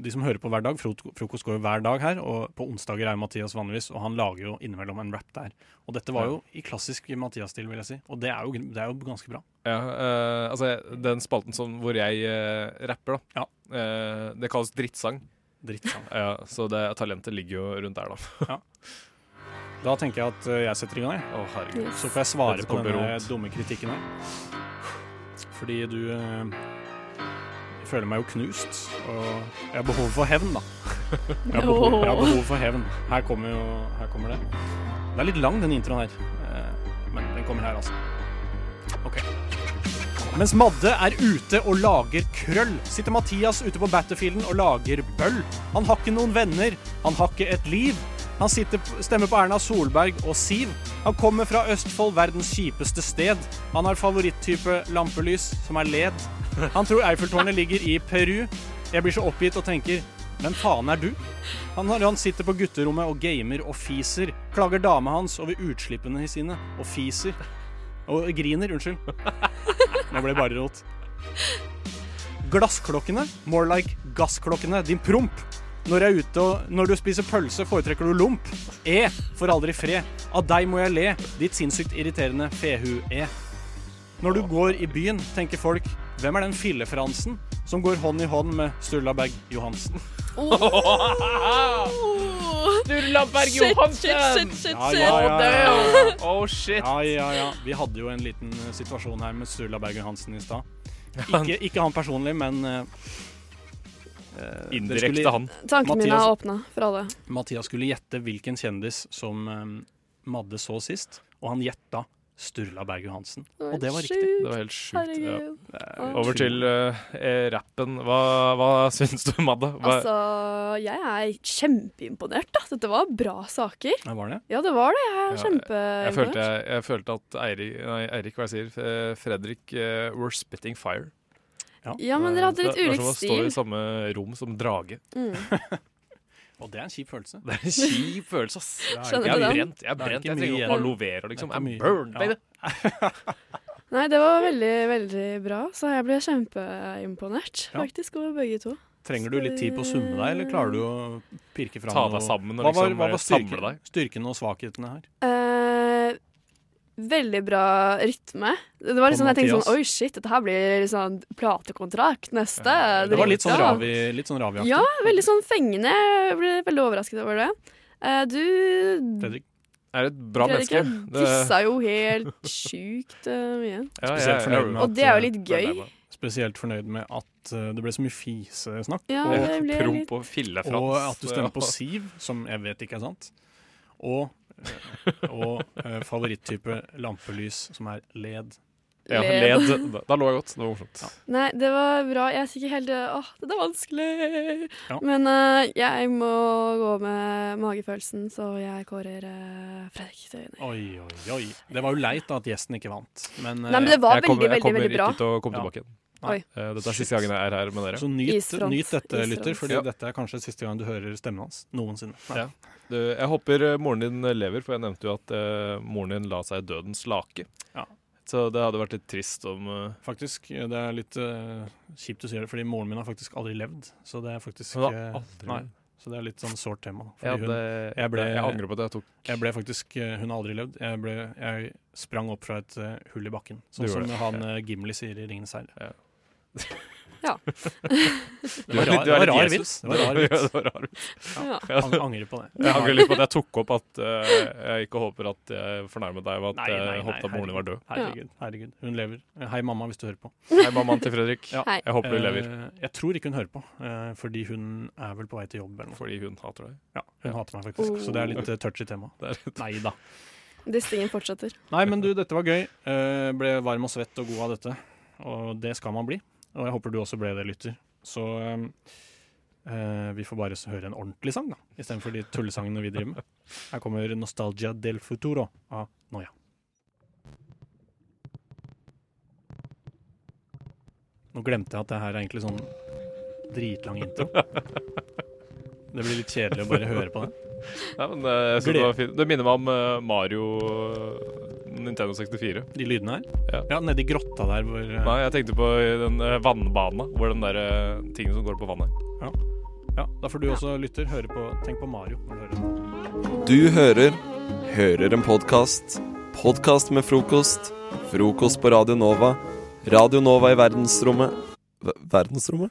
De som hører på hver dag, frok- frokost går jo hver dag her, og på onsdager er jo Mathias vanligvis, og han lager jo innimellom en rap der. Og dette var jo i klassisk Mathias-stil, vil jeg si. Og det er jo, det er jo ganske bra. Ja, eh, altså den spalten som, hvor jeg eh, rapper, da. Eh, det kalles drittsang. Drittsang. ja, så det, talentet ligger jo rundt der, da. Da tenker jeg at eh, jeg setter i gang, jeg. herregud. Så får jeg svare Dette på kommer til å bli denne rot. dumme kritikken her. Fordi du eh, Jeg føler meg jo knust, og jeg har behov for hevn, da. Jeg har behov, jeg har behov for hevn. Her kommer jo Her kommer det. Det er litt lang, den introen her. Eh, Men den kommer her, altså. OK. Mens Madde er ute og lager krøll, sitter Mathias ute på battlefielden og lager bøll. Han har ikke noen venner, han har ikke et liv. Han sitter, stemmer på Erna Solberg og Siv. Han kommer fra Østfold, verdens kjipeste sted. Han har favoritttype lampelys, som er led. Han tror Eiffeltårnet ligger i Peru. Jeg blir så oppgitt og tenker, hvem faen er du? Han, han sitter på gutterommet og gamer og fiser. Klager dama hans over utslippene sine og fiser. Og griner, unnskyld. Nå ble det bare rot. Glassklokkene, more like gassklokkene, din promp. Når, jeg er ute og, når du spiser pølse, foretrekker du lomp. E får aldri fred. Av deg må jeg le, ditt sinnssykt irriterende fehu-e. Når du går i byen, tenker folk Hvem er den fillefransen som går hånd i hånd med Sturlabag Johansen? Sturlaberg Shit, Johansen! shit, shit, shit, Ja, ja, ja, ja. Oh, shit. Ja, ja, ja. Vi hadde jo en liten eh, situasjon her med Sturla Berg Johansen i stad. Ikke, ikke han personlig, men eh, eh, det Indirekte skulle- han. Tankene mine Mathias- er åpna for alle. Mathias skulle gjette hvilken kjendis som eh, Madde så sist, og han gjetta Sturla Berg Johansen. Og det var riktig. Det var helt sjukt. Ja. Herregud. Over til eh, rappen. Hva, hva syns du, Madde? Hva, Altså, jeg er kjempeimponert. Da. Dette var bra saker. Ja, var det? Ja, det var det. Jeg Ja, er jeg, kjempeimponert. følte, jeg, jeg følte at Eirik, nei, Eirik hva jeg sier, eh, Fredrik eh, were spitting fire. Ja, men dere hadde Det- litt det var ulik som å Stå stil. i samme rom som drage. Og det er en kjip følelse. Det er en kjip følelse, ass. Skjønner jeg du er den? brent. Jeg er Det er brent. ikke Jeg mye trenger igjen. aloe vera, liksom. Det er I'm ikke mye. burned, Ja. baby. Nei, det var veldig, veldig bra. Så jeg ble kjempeimponert, Ja. faktisk, over begge to. Trenger du litt tid på å summe deg, eller klarer du å pirke fram Ta deg sammen og Hva var, liksom, hva eh, var samle styrken, styrken og svakhetene her? Eh, veldig bra rytme. Det var liksom, Og jeg tenkte Mathias. sånn Oi, shit, dette her blir sånn platekontrakt neste. Det var litt sånn Dritbra. ravi, litt sånn raviaktig. Ja, veldig sånn fengende. Jeg ble veldig overrasket over det. Eh, du Fredrik er et bra Fredrik, menneske. jeg Det- dissa jo helt sjukt eh, Ja, mye. jeg- Spesielt fornøyd jeg- med Og at, det er jo eh, litt gøy. Spesielt fornøyd med at eh, det ble så mye fisesnakk. Ja, og det ble Promp litt- og fillefrans. Og at du stemmer på Ja. Siv, som jeg vet ikke er sant. Og, eh, og eh, favoritttype lampelys, som er led. Ja, Led. led. Da- da lå jeg godt. Det var morsomt. Nei, det var bra. Jeg er sikkert helt eh, Åh, dette er vanskelig. Ja. Men eh, jeg må gå med magefølelsen, så jeg kårer eh, Fredrik til vinner. Oi, oi, oi. Det var jo leit da at gjesten ikke vant. Men, eh, Nei, men det var Jeg kommer- veldig, jeg veldig, kommer veldig bra. ikke til å komme tilbake igjen. Oi. Eh, Dette er siste gangen jeg er her med dere. Så nyt, Isfront. nyt dette, lytter, fordi Ja. dette er kanskje siste gang du hører stemmen hans noensinne. Ja. Du, jeg håper eh, moren din lever, for jeg nevnte jo at eh, moren din la seg i dødens lake. Så det hadde vært litt trist om eh, Faktisk, det er litt eh, kjipt å si det, fordi moren min har faktisk aldri levd. Så det er faktisk Hun har eh, aldri nei, levd. Så det er litt sånn sårt tema. da. Jeg Fordi hadde- jeg angrer på at jeg tok- Jeg ble faktisk, eh, Hun har aldri levd. Jeg, ble, jeg sprang opp fra et eh, hull i bakken, Du sånn som gjorde det, han eh, Gimli sier i 'Ringenes herre'. Ja. Det var rar- det var rar vits. Det var rar vits. Det var rar vits. Ja. Ja. Ang- Angrer på det. Jeg angrer litt på at jeg tok opp at eh, jeg ikke håper at jeg fornærmet deg ved at Nei, jeg nei, nei, håpet at moren din var død. Herregud, herregud. Hun lever. Eh, Hei, mamma, hvis du hører på. Hei, mammaen til Fredrik. Ja. Jeg håper du Eh, lever. Jeg tror ikke hun hører på, eh, fordi hun er vel på vei til jobb. Eller noe. Fordi hun hater deg? Ja, hun hater meg faktisk. Så det er litt eh, touchy tema. Nei da. Distingen fortsetter. Nei, men du, dette var gøy. Eh, ble varm og svett og god av dette. Og det skal man bli. Og jeg håper du også ble det, lytter. Så eh, eh, vi får bare s- høre en ordentlig sang, da. Istedenfor de tullesangene vi driver med. Her kommer 'Nostalgia del futuro' av Noia. Nå glemte jeg at det her er egentlig sånn dritlang intro. Det blir litt kjedelig å bare høre på den. Ja, men eh, jeg synes det, Gled- var fint. det minner meg om eh, Mario eh, Nintendo 64. De lydene her? Ja, nedi grotta der hvor eh, Nei, jeg tenkte på i den eh, vannbana, hvor den der eh, tingen som går på vannet. Ja. ja, da får du også lytter høre på Tenk på Mario når du hører den. Du hører Hører en podkast. Podkast med frokost. Frokost på Radio Nova. Radio Nova i verdensrommet Ver- Verdensrommet?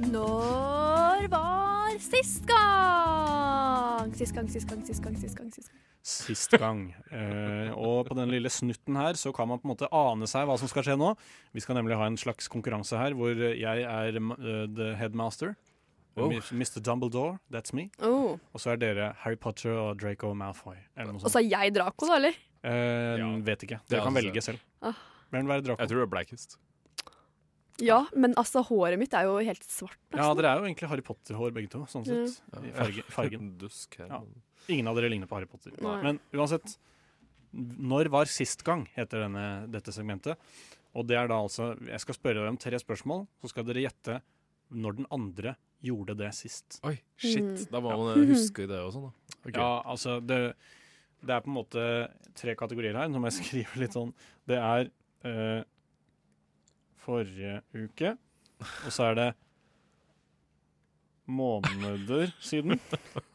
Når var sist gang? Sist gang, sist gang, sist gang, sist gang. Sist gang. sist gang. Eh, og på den lille snutten her så kan man på en måte ane seg hva som skal skje nå. Vi skal nemlig ha en slags konkurranse her hvor jeg er eh, the headmaster. Oh. Mr. Dumbledore, that's me. Oh. Og så er dere Harry Potter og Draco Malfoy. Eller noe Og så sånt. er jeg Draco, da, eller? Eh, Vet ikke. Ja, Dere kan altså. velge selv. Ah. Hvem vil være Draco? Jeg tror det er Blackest. Ja, men altså, håret mitt er jo helt svart. Ja, dere er jo egentlig Harry Potter-hår begge to, sånn Ja. sett. I farge, fargen. Dusk her. Ja. Ingen av dere ligner på Harry Potter. Nei. Men uansett, når var sist gang, heter denne, dette segmentet. Og det er da altså, jeg skal spørre dere om tre spørsmål, så skal dere gjette når den andre gjorde det sist. Oi, shit. Mm. Da må man, eh, huske det og sånn, da. Ok. Ja, altså, det, det er på en måte tre kategorier her, nå må jeg skrive litt sånn. Det er eh, forrige uke, og så er det måneder siden,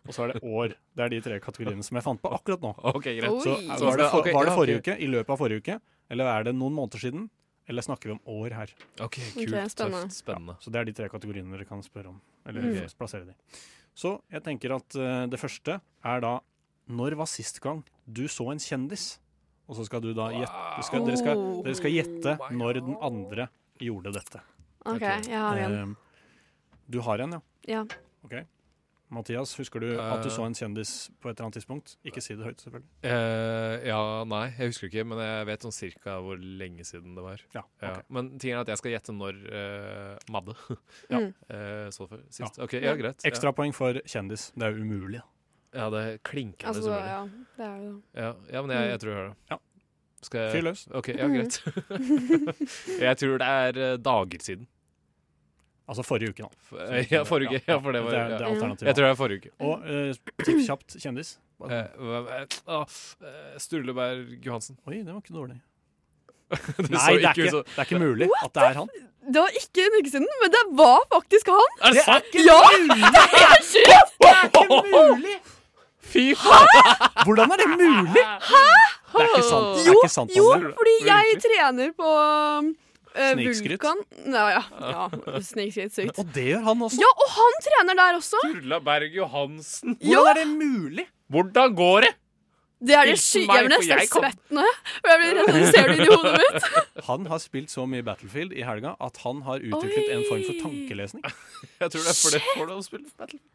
og så er det år. Det er de tre kategoriene som jeg fant på akkurat nå. Ok, greit. Så, Oi. så var, det for, Ok, var det ja, forrige ok. uke, i løpet av forrige uke, eller er det noen måneder siden, eller snakker vi om år her? Ok, kult, Ok, spennende. tøft, spennende. Ja, så det er de tre kategoriene dere kan spørre om, eller Mm. plassere de. Så jeg tenker at eh, det første er da, når var sist gang du så en kjendis? Og så skal du da gjette, du skal, dere, skal, dere skal gjette når den andre gjorde dette. OK, jeg har Eh, en. Du har en, ja. Ja. Ok. Mathias, husker du at du Eh. så en kjendis på et eller annet tidspunkt? Ikke si det høyt, selvfølgelig. Eh, ja, nei, jeg husker ikke, men jeg vet sånn cirka hvor lenge siden det var. Ja, ok. Men tingen er at jeg skal gjette når eh, Madde Ja. Eh, så for sist. Ok, ja, greit. Ja. Ekstrapoeng for kjendis. Det er jo umulig. Ja, det er klinkende Altså, umulig. ja, det er jo Ja, ja, men jeg, jeg tror jeg hører det. Skal jeg... Fyr løs. Ok, ja, greit. jeg tror det er eh, dager siden. Altså forrige uke, da. eh, ja, forrige uke. Ja, for det var- det er, det ja. er alternativet. Jeg tror det er forrige uke. Mm. Og eh, tipp kjapt kjendis. Eh, hvem er- ah, eh, Sturleberg Johansen. Oi, det var ikke dårlig. Nei, Det så det er, ikke ut ikke, som- det er ikke mulig at det er han. Det var ikke en uke siden, men det var faktisk han! Er det sant? Ja! Det er helt sjukt! Det er ikke mulig! Fy faen! Hvordan er det mulig? Hæ?! Det er ikke sant. Det Jo, er ikke sant jo Anne. fordi jeg trener på eh, Snikskryt? Vulkan. Ja, ja. ja Snikskritt sykt. Og det gjør han også. Ja, og han trener der også! Sturla Berg Johansen. Ja. Hvordan er det mulig? Hvordan går det? Det er det Hilsen sky... meg, Jeg blir for nesten jeg kom- svett nå. For jeg blir redd når jeg ser det inni hodet mitt. Han har spilt så mye Battlefield i helga at han har utviklet en form for tankelesning. Jeg tror det er for det for det å spille Battlefield.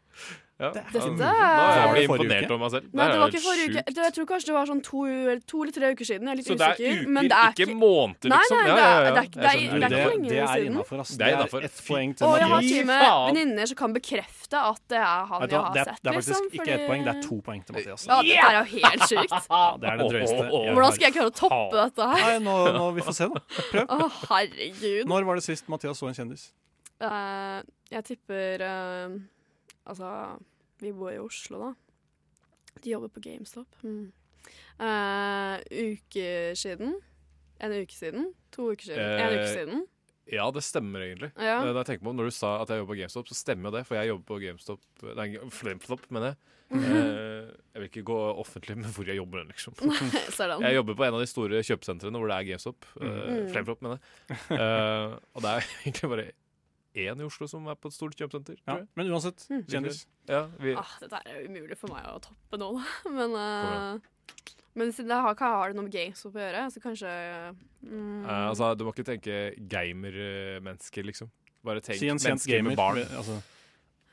Ja. Dette Nå er- er jeg Var det forrige imponert uke? over meg altså. selv. Nei, er det var ikke helt forrige uke. sjukt. Det- Jeg tror kanskje det var sånn to, to eller tre uker siden. Jeg er litt Så det er uker, uker, men det er ikke måneder, Nei, liksom? nei, Ja, det er- ja, ja. det er ikke- det er- Jeg skjønner. det er ikke lenge det siden. innenfor, ass. Det er innafor. Ett Og poeng jeg har til og med venninner som kan bekrefte at det er han Vet du jeg hva, har det er- sett. det er faktisk liksom, ikke ett fordi- poeng, det er to poeng til Mathias. Ja, dette er jo helt sjukt. Ja, det er det drøyeste. jeg Hvordan har. skal jeg klare å toppe dette her? Nei, nå, nå, Vi får se, da. Prøv. Å, herregud. Når var det sist Mathias så en kjendis? Eh, jeg tipper eh, Altså, vi bor i Oslo, da. De jobber på GameStop. Mm. Eh, uke siden. En uke siden. To uker siden. en uke Eh, siden. Ja, det stemmer egentlig. Ja. Eh, Når, jeg tenker på, det, når du sa at jeg jobber på GameStop, så stemmer jo det. For jeg jobber på GameStop Nei, Flamflop, mener jeg. Mhm. Eh, jeg vil ikke gå offentlig med hvor jeg jobber, liksom. Nei, sådan. Jeg jobber på en av de store kjøpesentrene hvor det er GameStop. eh, Mm. Flamflop, mener jeg. Eh, og det er egentlig bare én i Oslo som er på et stort kjøpesenter. Ja, tror jeg. men uansett, Mm. kjendis. Ja, vi, Ah, dette er jo umulig for meg å toppe nå, da. Men, eh, men siden jeg har, hva har det noe med GameStop å gjøre, så kanskje mm, Eh, altså, du må ikke tenke gamermennesker, liksom. Bare tenk Si en kjent mennesker gamer, med barn. med- altså.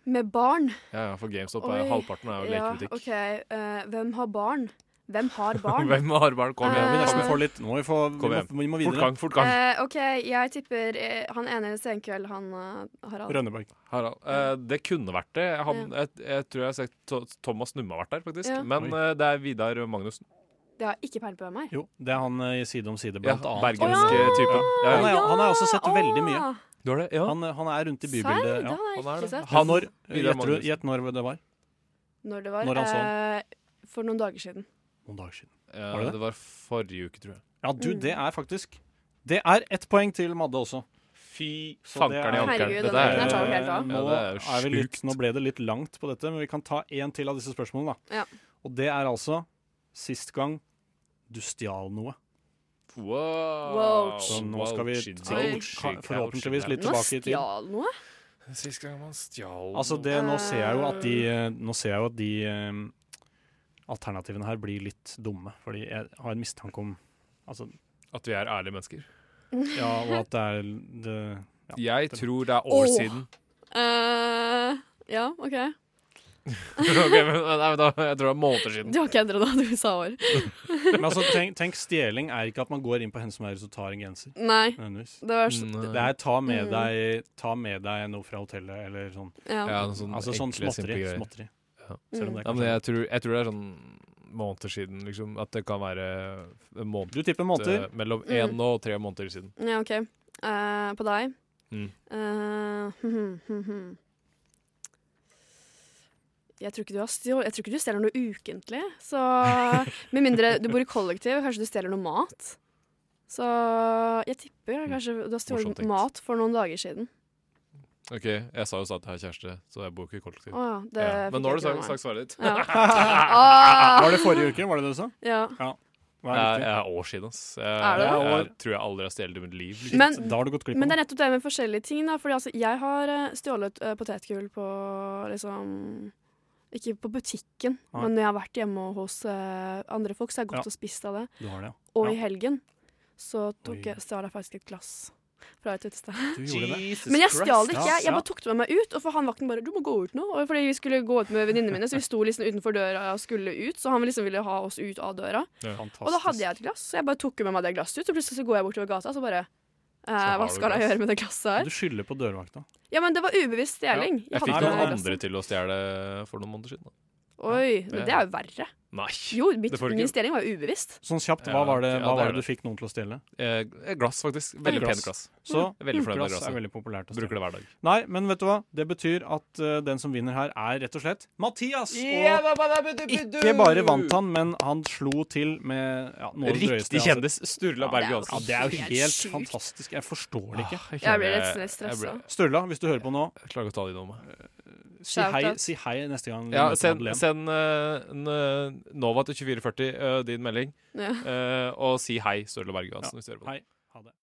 Med barn. Ja, ja, for GameStop Oi. er halvparten er jo lekebutikk. Ja, ok. Eh, hvem har barn? Hvem har barn? Hvem har barn? Kom igjen. Eh, Vi nesten Vi får litt, nå må vi, få, vi, Kom må, igjen. vi må Fort videre. gang, fort gang. Eh, OK, jeg tipper eh, han ene i Senkveld, han eh, Harald. Harald. Eh, det kunne vært det. Han, jeg, jeg tror jeg har sett To- Thomas Numme har vært der, faktisk. Ja. Men eh, det er Vidar Magnussen. Det har ikke peiling på hvem er. Jo, det er han eh, i Side om side, Ja, blant annet. bergenske Å, ja! typen. Ja, ja. Han, er, han er også sett Ja, veldig mye. å. han, eh, han er rundt i Serr? bybildet. Det har jeg Han er ikke det. sett. Han når, Vidar gjett, Magnussen. gjett når det var? Når det var? Når han så eh, for noen dager siden. Noen dager siden. Ja, Var det det? Eh, var forrige uke, tror jeg. Ja, du, Mm. det er faktisk Det er ett poeng til Madde også. Fy fankeren i ankeren. Herregud, Dette den- er- den tar jo helt av. Nå, Ja, det er jo er vi litt, nå ble det litt langt på dette, men vi kan ta én til av disse spørsmålene. da. Ja. Og det er altså sist gang du stjal noe. Wow. Så nå skal vi Wow, sikkert, shit. ka- forhåpentligvis litt Nå tilbake i tid. stjal noe? Sist gang man stjal Altså det, nå ser jeg jo at de, eh, nå ser jeg jo at de ehm, alternativene her blir litt dumme, fordi jeg har en mistanke om altså, At vi er ærlige mennesker. Ja, og at det er det, ja. Jeg tror det er år Åh. siden. Eh, ja, OK. Ok, men, nei, men da, jeg tror det er måneder siden. Du har ikke endra det du sa år. Men altså, tenk, tenk, stjeling er ikke at man går inn på henne som er og tar en genser. Nei. nødvendigvis. Det var så- Det- det er ta med, Mm. deg, ta med deg noe fra hotellet, eller sånn. Ja. Ja, noe sånn altså sånn enkle, småtteri. simple greier. småtteri. Ja. Selv om det ja, kanskje men jeg tror, jeg tror det er sånn måneder siden, liksom. At det kan være en måned, Du tipper måneder? eh, Mellom Mm. én og tre måneder siden. Ja, OK. Eh, på deg. Mm. Eh, hmm, hmm, hmm. Jeg tror ikke du, har stjål, jeg tror ikke du stjeler noe ukentlig. Så Med mindre du bor i kollektiv, kanskje du stjeler noe mat. Så jeg tipper Mm. kanskje du har morsomt stjålet tenkt. mat for noen dager siden. Ok, jeg sa jo så at jeg har kjæreste, så jeg bor ikke i kollektiv. Å ja, det fikk Men nå har jeg du ikke sagt, med sagt svaret ditt. meg. Ja. Ah! Var det forrige uke, var det det du sa? Ja. Hva Jeg er er- riktig? jeg er år siden, ass. Jeg, Er det det? jeg tror jeg aldri har stjålet i mitt liv. liksom. Men, men det er nettopp det med forskjellige ting. Da, fordi altså, jeg har eh, stjålet eh, potetgull på liksom Ikke på butikken, Nei. men når jeg har vært hjemme hos eh, andre folk, så har jeg gått Ja. og spist av det. Du har det, ja. Og i Ja. helgen så Oi. tok jeg, stjal jeg faktisk et glass fra et utested. Du gjorde det? Jesus Men jeg stjal det Christ. ikke. Ja, Jeg, jeg ja. bare tok det med meg ut, og for han vakten bare 'du må gå ut nå'. Og fordi vi skulle gå ut med venninnene mine, så vi sto liksom utenfor døra og skulle ut, så han liksom ville ha oss ut av døra. Og da hadde jeg et glass, så jeg bare tok med meg det glasset ut. Og plutselig så går jeg bortover gata, så bare eh, har Hva du skal jeg glass. gjøre med det glasset her? Du skylder på dørvakta. Ja, men det var ubevisst stjeling. Jeg hadde fikk det noen glasset. andre til å stjele for noen måneder siden. Da. Oi, men det er jo verre. Nei. Jo, mitt, Det får du ikke. min stjeling var jo ubevisst. Sånn kjapt, Ja, hva var det, ja, hva det er var det du det. fikk noen til å stjele? Eh, glass, faktisk. Veldig Glass. pent glass. Så veldig Mm. fornøyd med glass glasset. er veldig populært å Bruker det stjele. hver dag. Nei, men vet du hva? Det betyr at eh, den som vinner her, er rett og slett Mathias! Yeah, ba, ba, ba, ba, ba, og ikke bare vant han, men han slo til med ja, noe av det Riktig drøyeste jeg har kjendis, sett. Sturla Ja, Berg det er jo Ja, Johansen. det er jo Helt helt sykt. fantastisk. Jeg forstår det ikke. jeg Jeg ble kjenner- litt stressa. jeg ble- Sturla, hvis du hører på nå, Jeg klarer ikke å ta de noe. si hei, si hei neste gang. du Ja, møter send, Madeleine. send eh, en, eh, Nova til 2440 eh, din melding, Ja. eh, og si hei, Sturla Berg Johansen, hvis du hører på. Hei. Ha det.